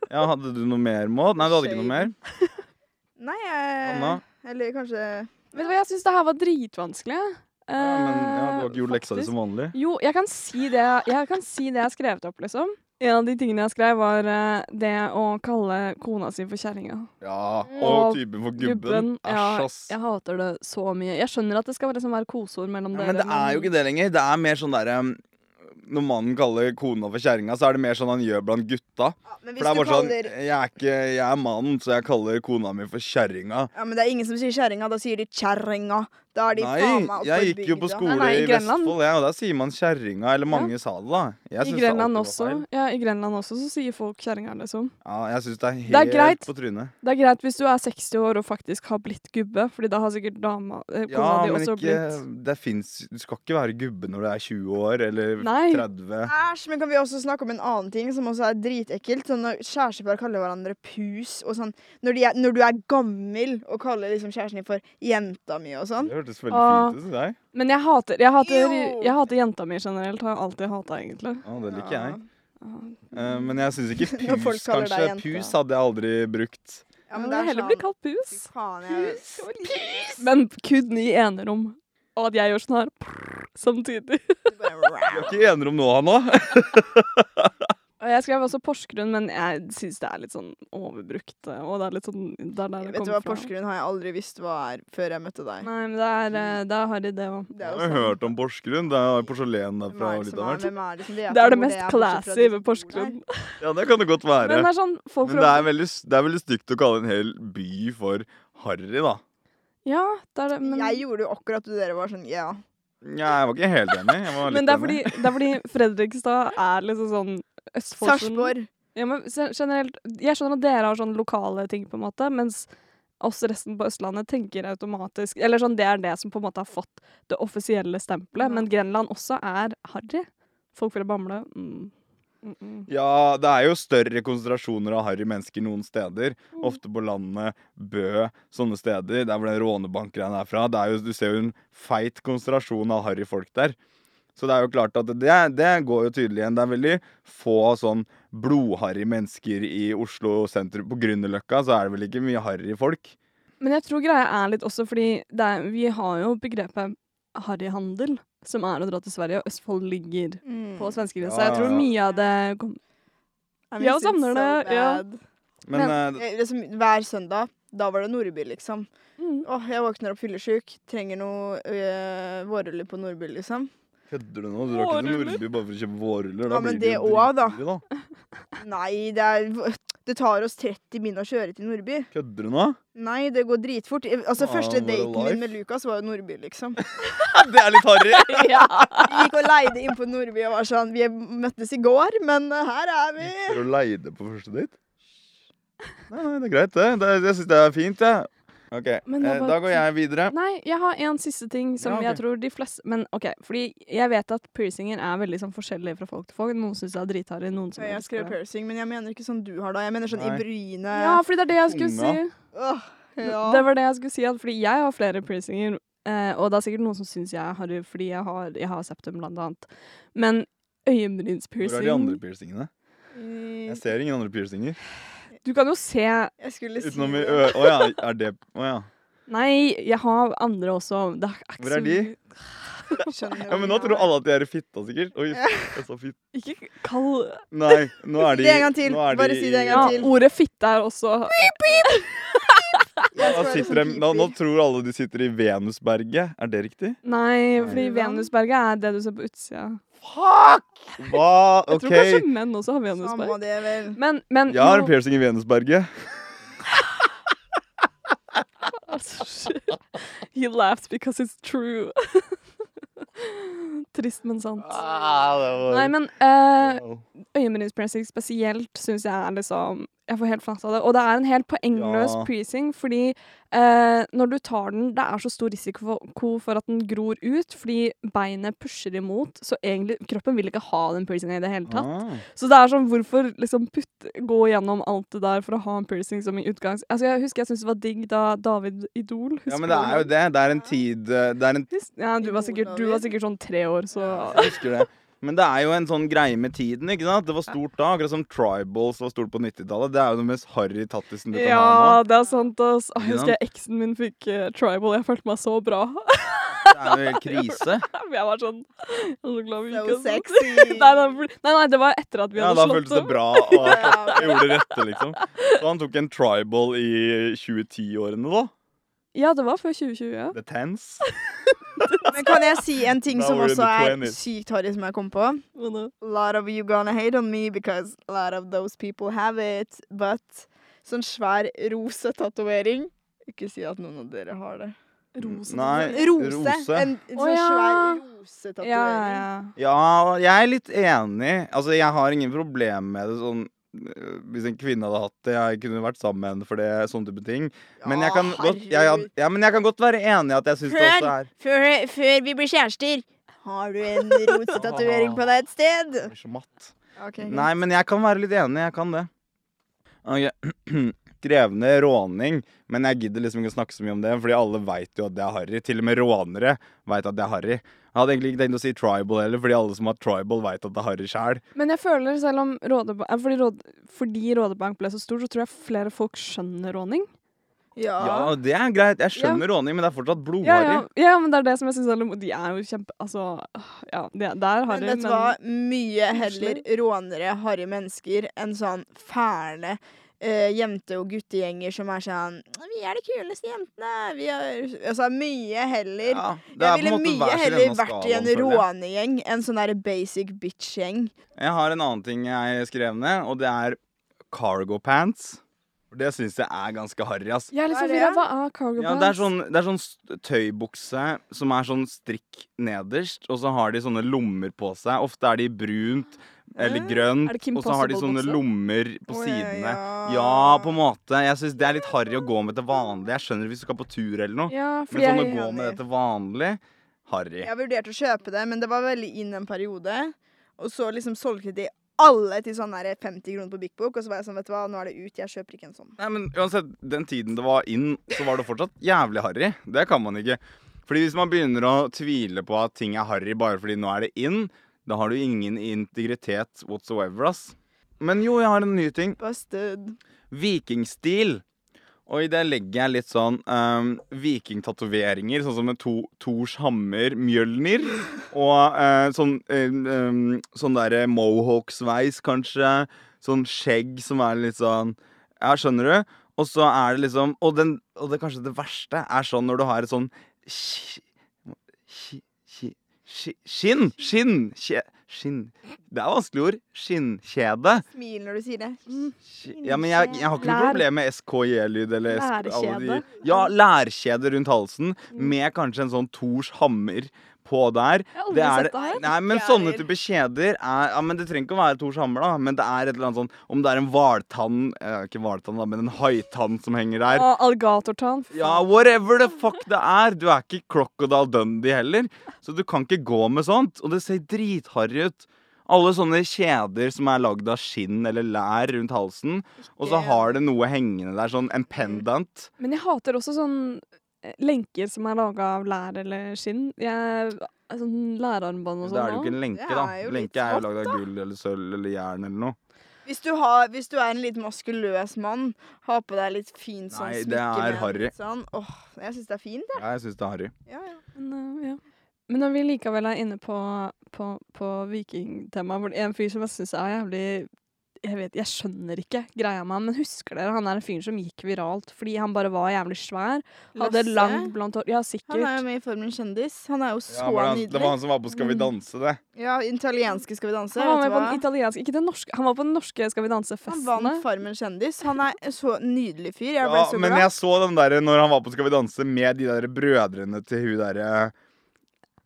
Ja, hadde du noe mer, Maud? Nei, du hadde ikke noe mer?
Nei, jeg
Anna?
Eller kanskje
Vet du hva, jeg syns det her var dritvanskelig.
Ja, men ja, du har ikke gjort
Eh,
leksa di
faktisk.
som vanlig.
Jo, jeg kan si det jeg kan si det jeg har skrevet opp, liksom. En av de tingene jeg skrev, var eh, det å kalle kona si for kjerringa.
Ja,
Og
Og typen for gubben. Æsj,
Ja,
ass.
jeg hater det så mye. Jeg skjønner at det skal liksom være koseord mellom
Ja,
dere.
men det er jo ikke det lenger. Det er mer sånn derre um, Når mannen kaller kona for kjerringa, så er det mer sånn han gjør blant gutta.
ja, men hvis
For det er
du
bare sånn
kaller
Jeg er ikke Jeg er mannen, så jeg kaller kona mi for kjerringa.
Ja, men det er ingen som sier kjerringa. Da sier de kjerringa. Da er de
Nei,
faen meg oppe
jeg
i
gikk jo på
bygda.
skole
Nei, nei, i
i
Grenland.
Vestfold, ja, og der sier man kjerringa. Eller mange sa det, da. Jeg
I
synes det
Grenland,
alltid var
også,
feil.
ja, I Grenland også så sier folk kjerringa, liksom.
Ja, jeg syns det er
er
helt
greit.
på trynet.
Det er greit hvis du er 60 år og faktisk har blitt gubbe, Fordi da har sikkert dama eh,
Ja,
kona di
men
også
ikke
blitt
Det fins Du skal ikke være gubbe når du er 20 år eller
Nei.
30.
Æsj, men kan vi også snakke om en annen ting som også er dritekkelt? Sånn når kjærestepar kaller hverandre pus og sånn. Når, de er, når du er gammel og kaller liksom kjæresten din for jenta mi og sånn.
Det hørtes veldig
Ah.
fint ut. Deg.
Men jeg hater, jeg hater,
Jo!
jeg hater jenta mi generelt. Har jeg alltid hata, egentlig.
Ja, det liker
Ja.
jeg. Eh, men jeg syns ikke
Når folk
pus,
kaller deg
kanskje.
jente.
Pus hadde jeg aldri brukt.
Ja,
jeg
men
vil
det er
heller bli
sånn
kalt pus.
Fy faen, jeg
Men kun i enerom. Og at jeg gjør sånn her prrr, samtidig.
du bare-
Ikke ener om nå, Hanna.
Og jeg skrev også Porsgrunn, men jeg syns det er litt sånn overbrukt. Og det er litt sånn Det er der det
Vet du hva,
kommer fra.
Porsgrunn har jeg aldri visst hva er før jeg møtte deg.
Nei, men det er, eh, det er harry, det òg.
Det er
Jeg har
jo
jo
sånn.
hørt om Porsgrunn. Det er jo
Hvem
porselen
er
derfra.
det
og litt
som er-
av hvert.
hvem er det som vet
Det er
hvor
det mest
bortsett fra de
classy
som
ved
bor der?
Porsgrunn.
Ja, det kan det godt
Men det
være.
er sånn folk
Men det
fra
er veldig, det er veldig stygt å kalle en hel by for harry, da.
Ja, det er det, men
Jeg gjorde jo akkurat det dere var sånn, ja.
Ja, jeg var ikke helt enig. Jeg var litt
men det er,
enig.
fordi, det er fordi Fredrikstad er liksom sånn Østfold som-
Sarpsborg.
Ja, men se- generelt Jeg skjønner at dere har sånn lokale ting, på en måte, mens oss resten på Østlandet tenker automatisk Eller sånn, det er det som på en måte har fått det offisielle stempelet,
Ja.
men Grenland også er harry. Folk fra Bamble. Mm. Mm -mm.
Ja, det er jo større konsentrasjoner av harry mennesker noen steder.
Mm.
Ofte på landet, Bø, sånne steder. Der hvor den rånebankgreia er fra. Det er jo, du ser jo en feit konsentrasjon av harry folk der. Så det er jo klart at det, det går jo tydelig igjen. Det er veldig få sånn blodharry mennesker i Oslo sentrum. På Grünerløkka så er det vel ikke mye harry folk.
Men jeg tror greia er litt også fordi det er, vi har jo begrepet harryhandel, som er å dra til Sverige, og Østfold ligger
Mm.
på svenskegrensa.
Ja,
Jeg tror
ja, ja.
mye av det kom
I
Ja,
miss it
savner det, ja.
bad.
Men, eh,
Eh, Liksom, hver søndag, da var det Nordby, liksom.
mm.
Åh, jeg våkner opp fyllesyk, trenger noe øh, vårruller på Nordby, liksom.
kødder du nå? Du drar ikke til
Vårruller.
Nordby bare for å kjøpe vårruller?
Ja,
Da
men
blir du
det
jo
også, da.
dritdyr, da.
Nei, det, er, det tar oss 30 min å kjøre til Nordby.
Kødder du nå?
Nei, det går dritfort. Eh, Altså,
Ah,
første
what a
daten
life.
min med Lukas var jo Nordby, liksom.
Det er litt harry!
ja.
Vi gikk og leide inn på Nordby og var sånn Vi møttes i går, men eh, her er vi.
Gikk dere og leide på første date? Nei, nei, det er greit, det. det jeg syns det er fint, jeg. OK,
Men det
eh,
var-
da går jeg videre.
Nei, jeg har en siste ting som
Ja, ok.
jeg tror de fleste Men OK, fordi jeg vet at piercinger er veldig sånn forskjellige fra folk til folk. Noen syns det er dritharry, noen som
Jeg
elsker det.
skrev piercing, men jeg mener ikke sånn du har da. Jeg mener sånn i
Nei.
brynet.
Ja, fordi det er det jeg skulle si.
Tunga.
Åh, ja.
Det var det jeg skulle si, at fordi jeg har flere piercinger, eh, og det er sikkert noen som syns jeg har det fordi jeg har, jeg har septum, blant annet. Men
Hvor er de andre
øyenbrynspiercing
piercingene?
Mm,
Jeg ser ingen andre piercinger.
Du kan jo se
Jeg skulle si
Utenom i
det.
ø... Å ja, er det Å ja.
Nei, jeg har andre også. Det er ikke
Hvor er
så-
de?
Skjønner
ja. Men nå
du
tror
hva jeg
alle at de er i fitta, sikkert. Oi, jeg sa fitt.
Ikke kall
Nei, nå er de
Det en gang til.
nå er de
Bare si det en
i-
Ja,
gang til.
ordet fitte er også
Jeg
Da
skal være
sitter
sånn
de, nå, nå
piper.
tror alle de sitter i Venusberget. Er det riktig?
Nei,
Nei.
fordi Venusberget er det du ser på utsida.
Hva?
Jeg
OK.
tror kanskje menn også har
Samme
venusberg.
det, vel.
Men, men
Jeg har
nå-
en piercing i Venusberget.
altså, shit. He laughed because it's true. Trist, men sant.
Ah.
Ah,
Nei, men eh, øyenbrynspressing spesielt syns jeg er liksom Jeg får helt fatt av det. Og det er en helt poengløs
Ja.
piercing, fordi eh, når du tar den Det er så stor risiko for- ko for at den gror ut, fordi beinet pusher imot, så egentlig kroppen vil ikke ha den piercingen i det hele tatt.
Ah.
Så det er sånn, hvorfor liksom putt, gå gjennom alt det der for å ha en piercing som i utgangs... Altså, jeg husker jeg syntes det var digg da David Idol husker
Ja, men det er jo det. Det er en tid eh, Det er en
Hus- Ja, du var, sikkert, du var sikkert sånn tre år, så
Jeg husker det. Men det er jo en sånn greie med tiden. ikke sant? Det var stort da, akkurat som tribals var stort på 90-tallet. Det er jo den mest harry tattisen du kan ha
Ja,
nå.
det er sant, ass. Å, Jeg
Ikke
husker jeg eksen min fikk eh, tribal, jeg følte meg så bra.
Det er jo helt krise.
jeg var sånn Jeg er så glad vi
So
ikke er sånn.
sexy.
Nei nei, for- nei, nei, det var etter at vi
Ja,
hadde
da
slått
føltes det
opp.
bra og
Ja, ok.
gjorde det rette, liksom. Så han tok en tribal i 2010-årene, da.
Ja, det var før 2020, ja.
The Tens.
Men kan jeg si en ting
Now
som
we're in
også
the
er
20s.
sykt harry, som jeg kom på?
Men, eh,
A lot of you gonna hate on me because a lot of those people have it. But sånn svær rosa tatovering Ikke si at noen av dere har det.
Rose.
Mm, Nei,
Rose.
rose.
En, en
Å,
sånn
ja.
svær rosetatovering.
Ja, ja.
Ja, jeg er litt enig. Altså, jeg har ingen problem med det sånn øh, hvis en kvinne hadde hatt det, jeg kunne vært sammen med henne for det, sånne type ting. Men jeg kan, godt, jeg, had- ja, men jeg kan godt være enig i at jeg syns det også er
Før, før vi blir kjærester, har du en rosetatovering på deg et sted?
Jeg blir så matt. Nei, men jeg kan være litt enig. Jeg kan det. Ok. Krevende råning, men jeg gidder liksom ikke å snakke så mye om det, fordi alle veit jo at det er harry. Til og med rånere veit at det er harry. Jeg hadde egentlig ikke tenkt å si tribal heller, fordi alle som har tribal, veit at det er harry sjæl.
Men jeg føler selv om Rådebank fordi, Råde, fordi Rådebank ble så stor, så tror jeg flere folk skjønner råning.
Ja.
Ja, det er greit. Jeg skjønner råning, men det er fortsatt
Ja,
blodharry.
ja, ja, men det er det som jeg syns er litt De er jo kjempe... Altså, øh, ja, det, det er
Men
harry,
vet
men,
du hva? Mye heller rånere, harry mennesker enn sånn fæle eh, jente- og guttegjenger som er sånn Vi er de kuleste jentene. Vi er Altså mye heller
Ja, det er
Jeg
på en
ville
måte hver
mye
sin ende
heller
av
vært i en
skalaen, føler jeg.
rånegjeng enn sånn der basic bitch-gjeng.
Jeg har en annen ting jeg skrev ned, og det er cargo pants. Det syns jeg er ganske harry, ass.
Jeg er litt
Hva er
forvirra.
det?
Hva er cargo
Ja,
pants?
det er sånn, det er sånn st- tøybukse som er sånn strikk nederst, og så har de sånne lommer på seg. Ofte er de brunt eller
Er det
grønt,
Kim
og så har de sånne
Possible-bukse?
lommer på
Å, ja,
sidene.
ja.
Ja, på en måte. Jeg syns det er litt harry å gå med til vanlig. Jeg skjønner hvis du skal på tur eller noe,
ja,
men
fordi
sånn å
jeg,
gå med det til vanlig Harry.
Jeg vurderte å kjøpe det, men det var veldig inn en periode. Og så liksom solgte de alle til sånn der 50 kroner på Big Book, og så var jeg sånn, vet du hva, nå er det ut, jeg kjøper ikke en sånn.
Nei, men uansett, den tiden det var inn, så var det fortsatt jævlig harry. Det kan man ikke. Fordi hvis man begynner å tvile på at ting er harry bare fordi nå er det inn, da har du ingen integritet whatsoever, ass. Men jo, jeg har en ny ting.
Busted.
Vikingstil. Og i det legger jeg litt sånn um, vikingtatoveringer, sånn som med to, Tors hammer, Mjølnir. Og eh, sånn, eh, um, sånn derre mohawk-sveis, kanskje. Sånn skjegg som er litt sånn Ja, skjønner du? Og så er det liksom Og, den, og det kanskje det verste er sånn når du har et sånn ski- ski- ski- ski- Skinn! Skinn! Kje, skinn. Det er vanskelige ord. Skinnkjede.
Smil når du sier det.
Mm. Ja, men jeg, jeg har ikke noe
Lær-
problem med SKJ-lyd eller SK, alle de-
Lærkjede.
Ja, lærkjede rundt halsen med kanskje en sånn Thors hammer på der.
jeg har aldri
Det er
sett det her.
Nei, men
Jeg
sånne
heller.
type kjeder er Ja, men det trenger ikke å være Thors hammer, da, men det er et eller annet sånn Om det er en hvaltann eh, Ikke hvaltann, da, men en haitann som henger der.
Og alligatortann.
Ja, whatever the fuck det er. Du er ikke Crocodile Dundee heller. Så du kan ikke gå med sånt. Og det ser dritharry ut. Alle sånne kjeder som er lagd av skinn eller lær rundt halsen. Og så har det noe hengende der, sånn en pendant.
Men jeg hater også sånn eh, lenker som er laga av lær eller skinn. Jeg, sånn lærarmbånd og
Da er det jo ikke
sånn.
en lenke,
Det
da.
er jo litt
Lenke er jo
smått,
lagd av gull eller sølv eller jern eller noe.
Hvis du, har, hvis du er en litt maskuløs mann, ha på deg litt fint sånn
Nei, det
smykke.
er
med en
harry.
litt Sånn. Åh, jeg syns det er fint,
Ja, jeg syns det er harry.
jeg. Ja, ja.
også. Men, eh, ja. Men når vi likevel er inne på, på, på vikingtema, hvor det er en fyr som jeg syns er jævlig jeg, vet, jeg skjønner ikke greia med han, men husker dere han er en fyr som gikk viralt fordi han bare var jævlig svær? Hadde
Lasse,
langt, blondt hår. Ja, sikkert.
Han er jo med i Formelen kjendis. Han er jo så
Ja, var det, han, det var
nydelig. Mm.
han som var på Skal vi danse, det.
Ja, italienske Skal vi danse.
Han var
vet
med
du
på
hva?
den italienske Ikke den norske. Han var på den norske Skal vi
Han
danse-festene.
vant Farmen kjendis. Han er en så nydelig fyr. Jeg ble
Ja,
så
men
glad.
jeg så den der når han var på Skal vi danse med de der brødrene til hun eh, derre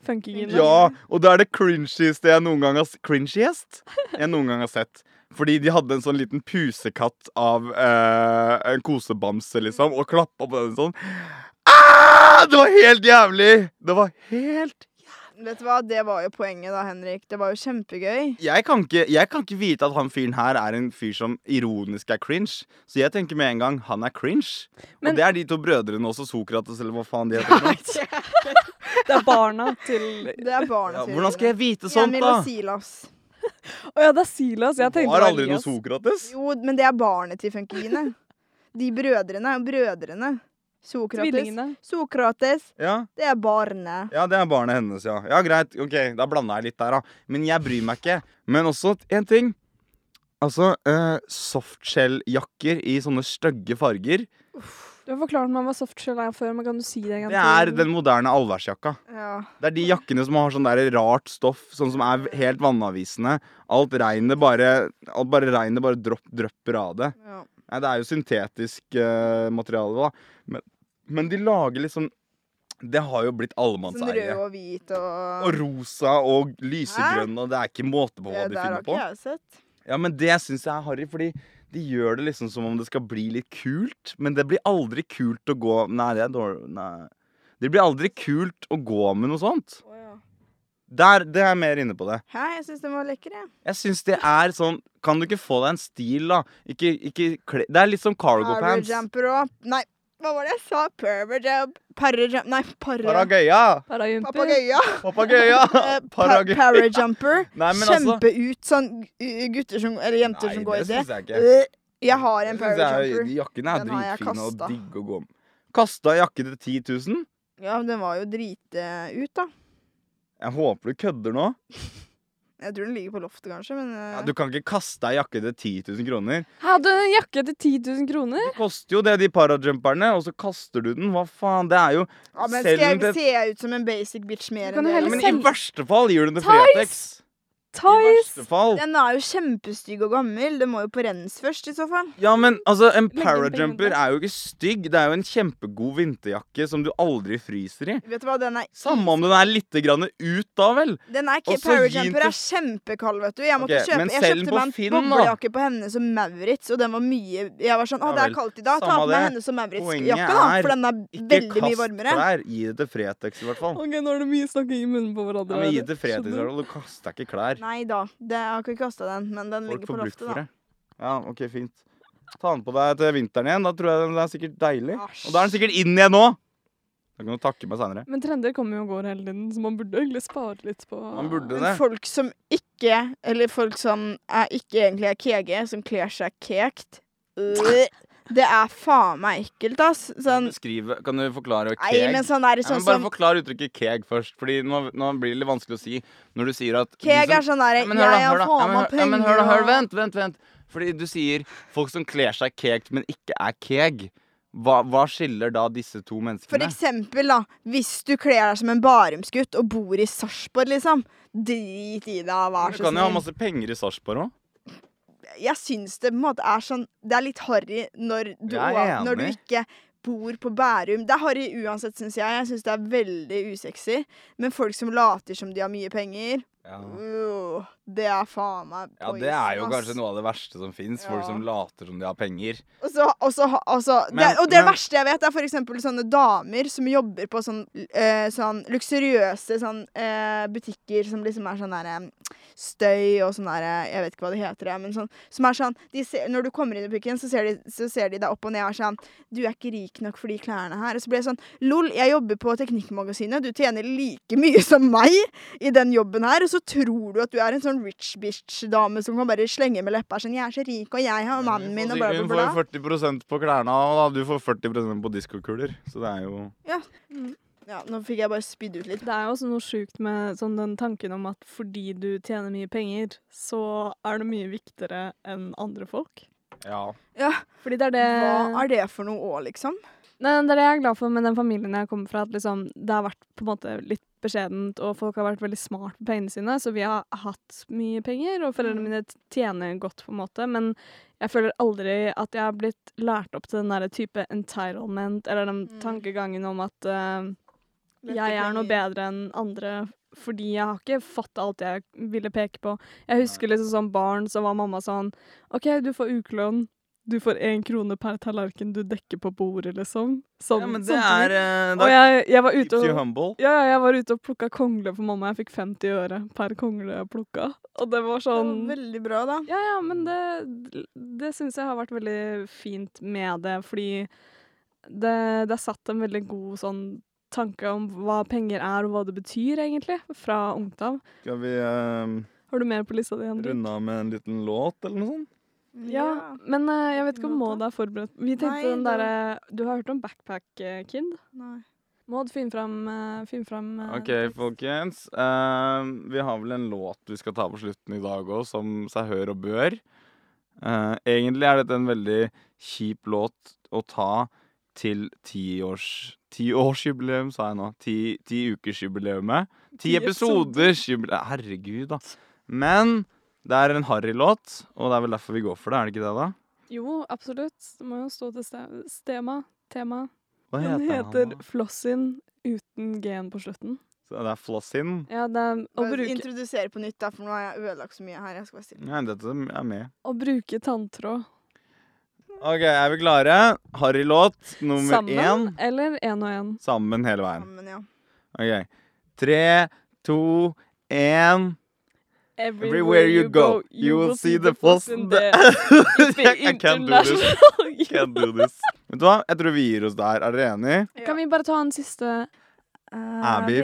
Funkygine.
Ja, og det er det cringieste jeg noen gang har s- Cringiest? Jeg noen gang har sett. Fordi de hadde en sånn liten pusekatt av eh, en kosebamse, liksom, og klappa på den sånn. Ah, det var helt jævlig! Det var helt
Vet du hva, Det var jo poenget, da, Henrik. Det var jo kjempegøy.
jeg kan, ikke, jeg kan ikke vite at han fyren her er en fyr som ironisk er cringe. Så jeg tenker med en gang han er cringe.
Men-
og det er de to brødrene også, Sokrates eller hva faen de heter. for noe.
Det er barna til
Det er barna
Ja, hvordan skal jeg vite sånt,
Emil
da?
og Silas.
Å ja, det er Silas. Jeg
Det
tenkte det
var
var
aldri noe
Elias.
Sokrates.
Jo, men det er barnet til funkygine. De brødrene er brødrene. Sokrates.
Tvillingene.
Sokrates,
Ja,
det er barnet.
ja, det er barnet hennes, ja. Ja, greit. Ok, da blanda jeg litt der, da. Men jeg bryr meg ikke. Men også én ting. Altså, eh, softshell-jakker i sånne stygge farger.
Du har forklart meg hva softshell er før, men kan du si det en gang
Det er den moderne allværsjakka.
Ja.
Det er de jakkene som har sånn der rart stoff, sånn som er helt vannavvisende. Alt regnet bare, alt bare, regnet bare dropp, drypper av det.
ja.
Nei, det er jo syntetisk eh, materiale, da. Men, men de lager liksom Det har jo blitt
Sånn rød
allemannseie.
og hvit og
Og rosa og lysegrønn, og det er ikke måte på hva
Det
de
der har
finner
ikke
på.
jeg sett.
Ja, men det syns jeg er harry, fordi de gjør det liksom som om det skal bli litt kult, men det blir aldri kult å gå Nei, det er dårlig Nei. Det blir aldri kult å gå med noe sånt. Der, det er jeg mer inne på det.
Hæ, jeg syns den var lekker, jeg.
Jeg syns det er sånn Kan du ikke få deg en stil, da? Ikke, ikke kle Det er litt som cargo pants.
Parajumper og Nei, hva var det jeg sa? Parajump Parajump Nei, para...
Paragøya!
Parajumper.
Papagøya.
Papagøya!
Eh, pa-
Paragøya.
Parajumper.
Nei, men altså
Kjempe ut sånn uh, gutter som Eller jenter som går i det.
Nei, det syns jeg ikke.
Øh, Jeg har en
Det synes jeg-
parajumper.
De jakkene er
Den har jeg
dritfine og
kastet.
digge å gå med. Kasta jakke til 10 000?
Ja, men den var jo drite ut, da.
Jeg håper du kødder nå.
Jeg tror den ligger på loftet, kanskje, men eh,
Ja, du kan ikke kaste ei jakke til 10 000 kroner.
Hadde en jakke til 10 000 kroner?
Det koster jo det, de parajumperne, og så kaster du den. Hva faen? Det er jo
ja, men
selv
Skal
om det-
jeg se ut som en basic bitch mer
Du kan jo
enn det?
heller
Men
Men
i
selv-
verste fall gir du den til
Tights!
Fretex. I
Tights!
verste fall.
den er jo kjempestygg og gammel. Den må jo på rens først, i så fall.
Ja, men altså, en
Legg den på
parajumper
hodet.
er jo ikke stygg. Det er jo en kjempegod vinterjakke som du aldri fryser i.
Vet du hva, den er
Samme om den er litt grann ut, da vel.
Den er ikke
Også
Parajumper er
jeans
kjempekald, vet du. Jeg, måtte
Ok, men
kjøpe, jeg
selv
kjøpte
på
meg en
Finn, da.
boblejakke på henne som Maurits, og den var mye Jeg var sånn Å,
Ja
det
vel,
er kaldt i dag. Ta
samme
på meg
det.
henne som
Poenget
Maurits-jakka, da,
er
for den er
Ikke
veldig mye
kast
varmere.
klær. Gi det til Fretex, i hvert fall.
Ok, nå er det mye snakking i munnen på hverandre.
Ja, men gi
her.
det liksom. til Fretex, i
Skjønner
hvert
du?
fall. Du kaster ikke klær.
Nei da, det, jeg har ikke kasta den, men den
Folk
ligger på
får bruk
loftet,
for
da.
det. Ja, OK, fint. Ta den på deg til vinteren igjen. Da tror jeg den er sikkert deilig.
Asj.
Og da er den sikkert inn igjen nå! Da kan du takke meg seinere.
Men trender kommer jo og går hele tiden, så man burde egentlig spare litt på
Man burde det.
Men folk som ikke Eller folk som er ikke egentlig er kege, som kler seg kekt øh, Det er faen meg ekkelt, ass. Sånn
Beskrive Kan du forklare
Nei,
keg?
men sånn der
Ja,
sånn
men bare
som
forklar uttrykket keg først, Fordi nå, nå blir det litt vanskelig å si når du sier at de
Keg
som-
er sånn der
Ja, men hør da,
Jeg
hør
har
da, ja,
faen
men
meg
hør- ja, men
penger
hør da, hør,
og-
vent, vent, vent. Fordi du sier folk som kler seg kegt, men ikke er keg. Hva, hva skiller da disse to
For
menneskene?
eksempel, da, hvis du kler deg som en Barumsgutt og bor i Sarpsborg, liksom. Drit i deg, vær
Du
så
kan jo ha
snill.
masse penger i Sarpsborg òg.
Jeg syns det på en måte er sånn Det er litt harry når du,
Jeg er
når du
enig.
ikke bor på Bærum. Det er harry uansett, syns jeg. Jeg syns det er veldig usexy. Men folk som later som de har mye penger
Ja.
øh, Det er faen meg
ja, det er jo
poison, ass.
kanskje noe av det verste som fins. Folk
Ja.
som later som de har penger.
Og så, og så, ha- altså, det,
Men-
og det
men-
verste jeg vet, er for eksempel sånne damer som jobber på sånn, eh, sånn luksuriøse sånn, eh, butikker som liksom er sånn der eh, støy og sånn der eh, Jeg vet ikke hva det heter, jeg, men sånn Som er sånn de ser, Når du kommer inn i butikken, så ser de, så ser de deg opp og ned og er sånn Du er ikke rik nok for de klærne her. Og så blir det sånn Lol, jeg jobber på Teknikkmagasinet. Du tjener like mye som meg i den jobben her, og så tror du at du er en sånn rich bitch-dame som kan bare slenge med leppa sånn Jeg er så rik, og jeg har mannen min, og bla, bla,
Hun
bla.
får jo 40 på klærne, og da du får 40 på diskokuler. Så det er jo
Ja. Ja, nå fikk jeg bare spydd ut litt.
Det er jo også noe sjukt med sånn, den tanken om at fordi du tjener mye penger, så er du mye viktigere enn andre folk.
Ja.
Ja,
Fordi det er det
Hva er det for noe òg, liksom?
Nei, det er det jeg er glad for med den familien jeg kommer fra, at liksom, det har vært på en måte litt beskjedent, og folk har vært veldig smart på pengene sine, så vi har hatt mye penger, og foreldrene mine tjener godt, på en måte, men jeg føler aldri at jeg har blitt lært opp til den der type entitlement, eller den
Mm.
tankegangen om at eh, jeg er noe bedre enn andre, fordi jeg har ikke fått alt jeg ville peke på. Jeg husker liksom som barn så var mamma sånn OK, du får ukelønn. Du får én krone per tallerken du dekker på bordet, liksom. Sånn,
ja men det
sånne ting.
er eh,
Og
da
jeg, jeg var ute
Keeps you
og
humble.
ja, ja, jeg var ute og plukka kongle for mamma. Jeg fikk 50 øre per kongle jeg plukka. Og det var
Det var
sånn
Veldig bra, da.
Ja, ja, men det, det syns jeg har vært veldig fint med det, fordi det, det er satt en veldig god sånn tanke om hva penger er, og hva det betyr, egentlig, fra ungt av.
Skal vi eh,
Har du mer på lista di, Henrik?
runde av med en liten låt eller noe sånt?
Ja, men eh, jeg vet ikke om
Låta?
Maud er forberedt. Vi tenkte
Nei,
den
det-
derre Du har hørt om Backpack eh, Kid?
Nei.
Maud, finn fram, eh, finn fram eh,
OK,
tekst.
folkens. eh, vi har vel en låt vi skal ta på slutten i dag òg, som seg hør og bør. Eh, egentlig er dette en veldig kjip låt å ta til tiårs... Tiårsjubileum, sa jeg nå. Ti, ti ukersjubileumet. Ti
Ti episoder.
episoders jubileum. Herregud, da. Men det er en harrylåt, og det er vel derfor vi går for det, er det ikke det, da?
Jo, absolutt. Det må jo stå til ste- stema. Tema.
Hva
Den
han,
heter
da?
Flossin uten G-en på slutten.
Så det er Flossin.
Ja, det er å
Bare
bruke,
Introdusere på nytt, da, for nå har jeg ødelagt så mye her. Jeg skal bare stille.
Nei, dette er med.
å bruke tanntråd
OK, er vi klare? Harrylåt nummer
sammen,
én.
eller én og én.
Sammen hele veien.
Sammen, ja.
Ok. Tre, to, én Everywhere you go, you will see the Flossin there. I can't do this. Can't do this. Vet du hva? Jeg tror vi gir oss der. Er dere enig?
Kan vi bare ta en siste
Abby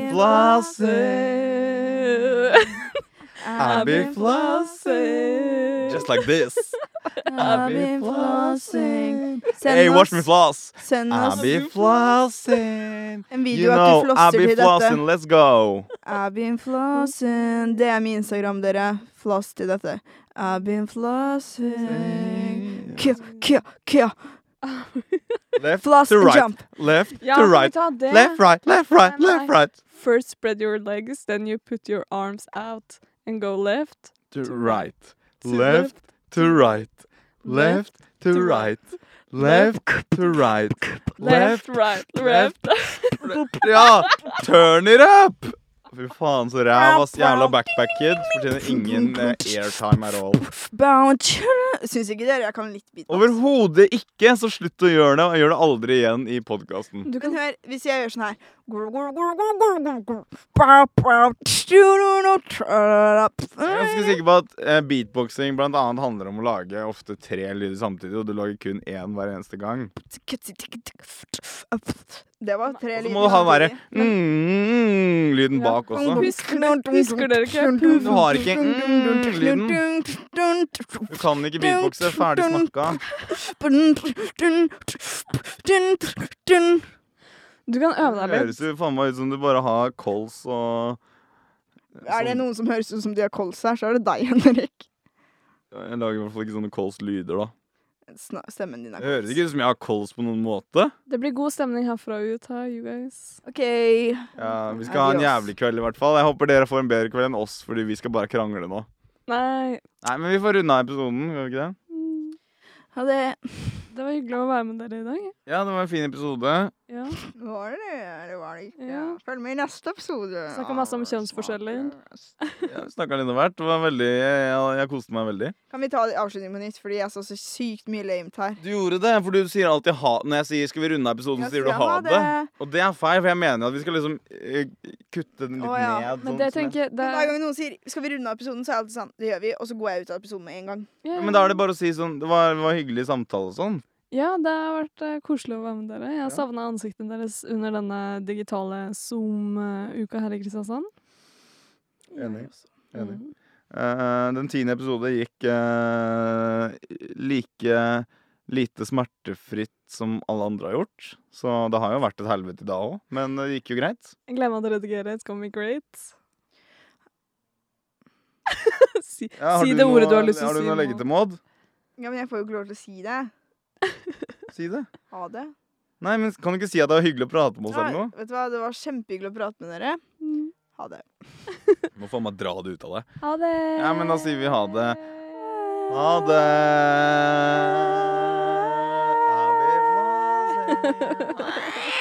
Flossin. Abby Flossin. Just like this. Abby Flossin.
Send
Hey, watch
oss-
me floss.
Send oss
Abby Flossin.
en
You
video at
know,
du flosser
Abby
til dette.
Flossin, let's go.
Abby Flossin. Det er min Instagram, dere. Floss til dette. Abby Flossin. Kja, kja, kja.
Left
Floss
to
and
right.
jump.
Left
Ja,
to
kan vi
right.
ta det?
Left, right, left, right,
Nei, nei.
left, right.
First spread your legs, then you put your arms out and go left.
to
To
right.
to
Left to right. Left to
to
right. Left to right.
Left, right, left.
Ja! Turn it up! Fy faen, så ræv, ass. Jævla backpack kid. Fortjener ingen eh, airtime at all.
Bounce. Syns ikke dere jeg kan litt beatbox?
Overhodet ikke, så slutt å gjøre det. Og gjør det aldri igjen i podkasten.
Du
Men
kan
hør, hvis jeg gjør sånn her Grr, grr, grr, grr, grr, grr, grr. Bow, bow, tjururu, trara, pff.
Jeg er ganske sikker på at eh, beatboxing blant annet handler om å lage ofte tre lyder samtidig, og du lager kun én hver eneste gang.
Det var tre
Og så må du ha den derre Mm,
Ja.
mm-lyden bak også.
Husker- husker dere ikke?
Du har ikke mm-lyden. Du kan ikke beatboxe. Ferdig snakka.
Du kan øve
Det
deg
høres
litt.
jo faen meg ut som du bare har kols og sånn-
Er det noen som høres ut som de har kols her, så er det deg, Henrik.
Jeg lager i hvert fall ikke sånne kols-lyder, da.
Sna- Stemmen din er
Det høres ikke ut som jeg har kols på noen måte.
Det blir god stemning herfra og ut her, you guys.
OK.
Ja, Vi skal ha en
Adios.
jævlig kveld, i hvert fall. Jeg håper dere får en bedre kveld enn oss, fordi vi skal bare krangle nå.
Nei,
Nei, men vi får runde av episoden, gjør vi ikke det?
mm,
Ha det.
det var hyggelig å være med dere i dag.
Ja, det var en fin episode.
Ja.
Var det det, eller var det ikke?
Ja.
Følg med i neste episode.
Snakker masse om
av
kjønnsforskjeller.
Smaker.
Ja, vi Snakka litt om hvert. Det var veldig Jeg, jeg koste meg veldig.
Kan vi ta avslutningen på nytt, fordi jeg så så sykt mye lamet her.
Du gjorde det, for du sier alltid ha Når jeg sier 'skal vi runde av episoden', så
Jeg
sier du
sier
'ha det'. Og det er feil, for jeg mener jo at vi skal liksom eh, kutte den litt
Å, ja.
ned.
Men
sånn
det
som jeg-
tenker jeg det,
Men hver gang noen sier 'skal vi runde av episoden', så er jeg alltid sånn 'det gjør vi', og så går jeg ut av episoden med en gang.
ja,
Ja, men da er det bare å si sånn Det var, det var hyggelig samtale og sånn.
Ja, det har vært eh, koselig å være med dere. Jeg
Ja.
har savna ansiktene deres under denne digitale Zoom-uka her i Kristiansand.
Enig.
Mm.
Eh, den tiende episode gikk eh, like lite smertefritt som alle andre har gjort. Så det har jo vært et helvete da òg, men det gikk jo greit.
Jeg gleder meg til å redigere et Comic Great. si
Ja, har
si det ordet du
noe-
har lyst til å
Har
si.
du noe å legge
nå.
til, Maud?
Ja, men jeg får jo ikke lov til å si det.
Si det.
Ha det.
Nei, men kan du ikke si at det var hyggelig å prate med oss eller
Ja,
noe?
vet du hva, det var kjempehyggelig å prate med dere.
Mm.
Ha det.
Må faen meg dra det ut av deg.
Ha det.
Ja, men da sier vi ha det. Ha det! Ha det!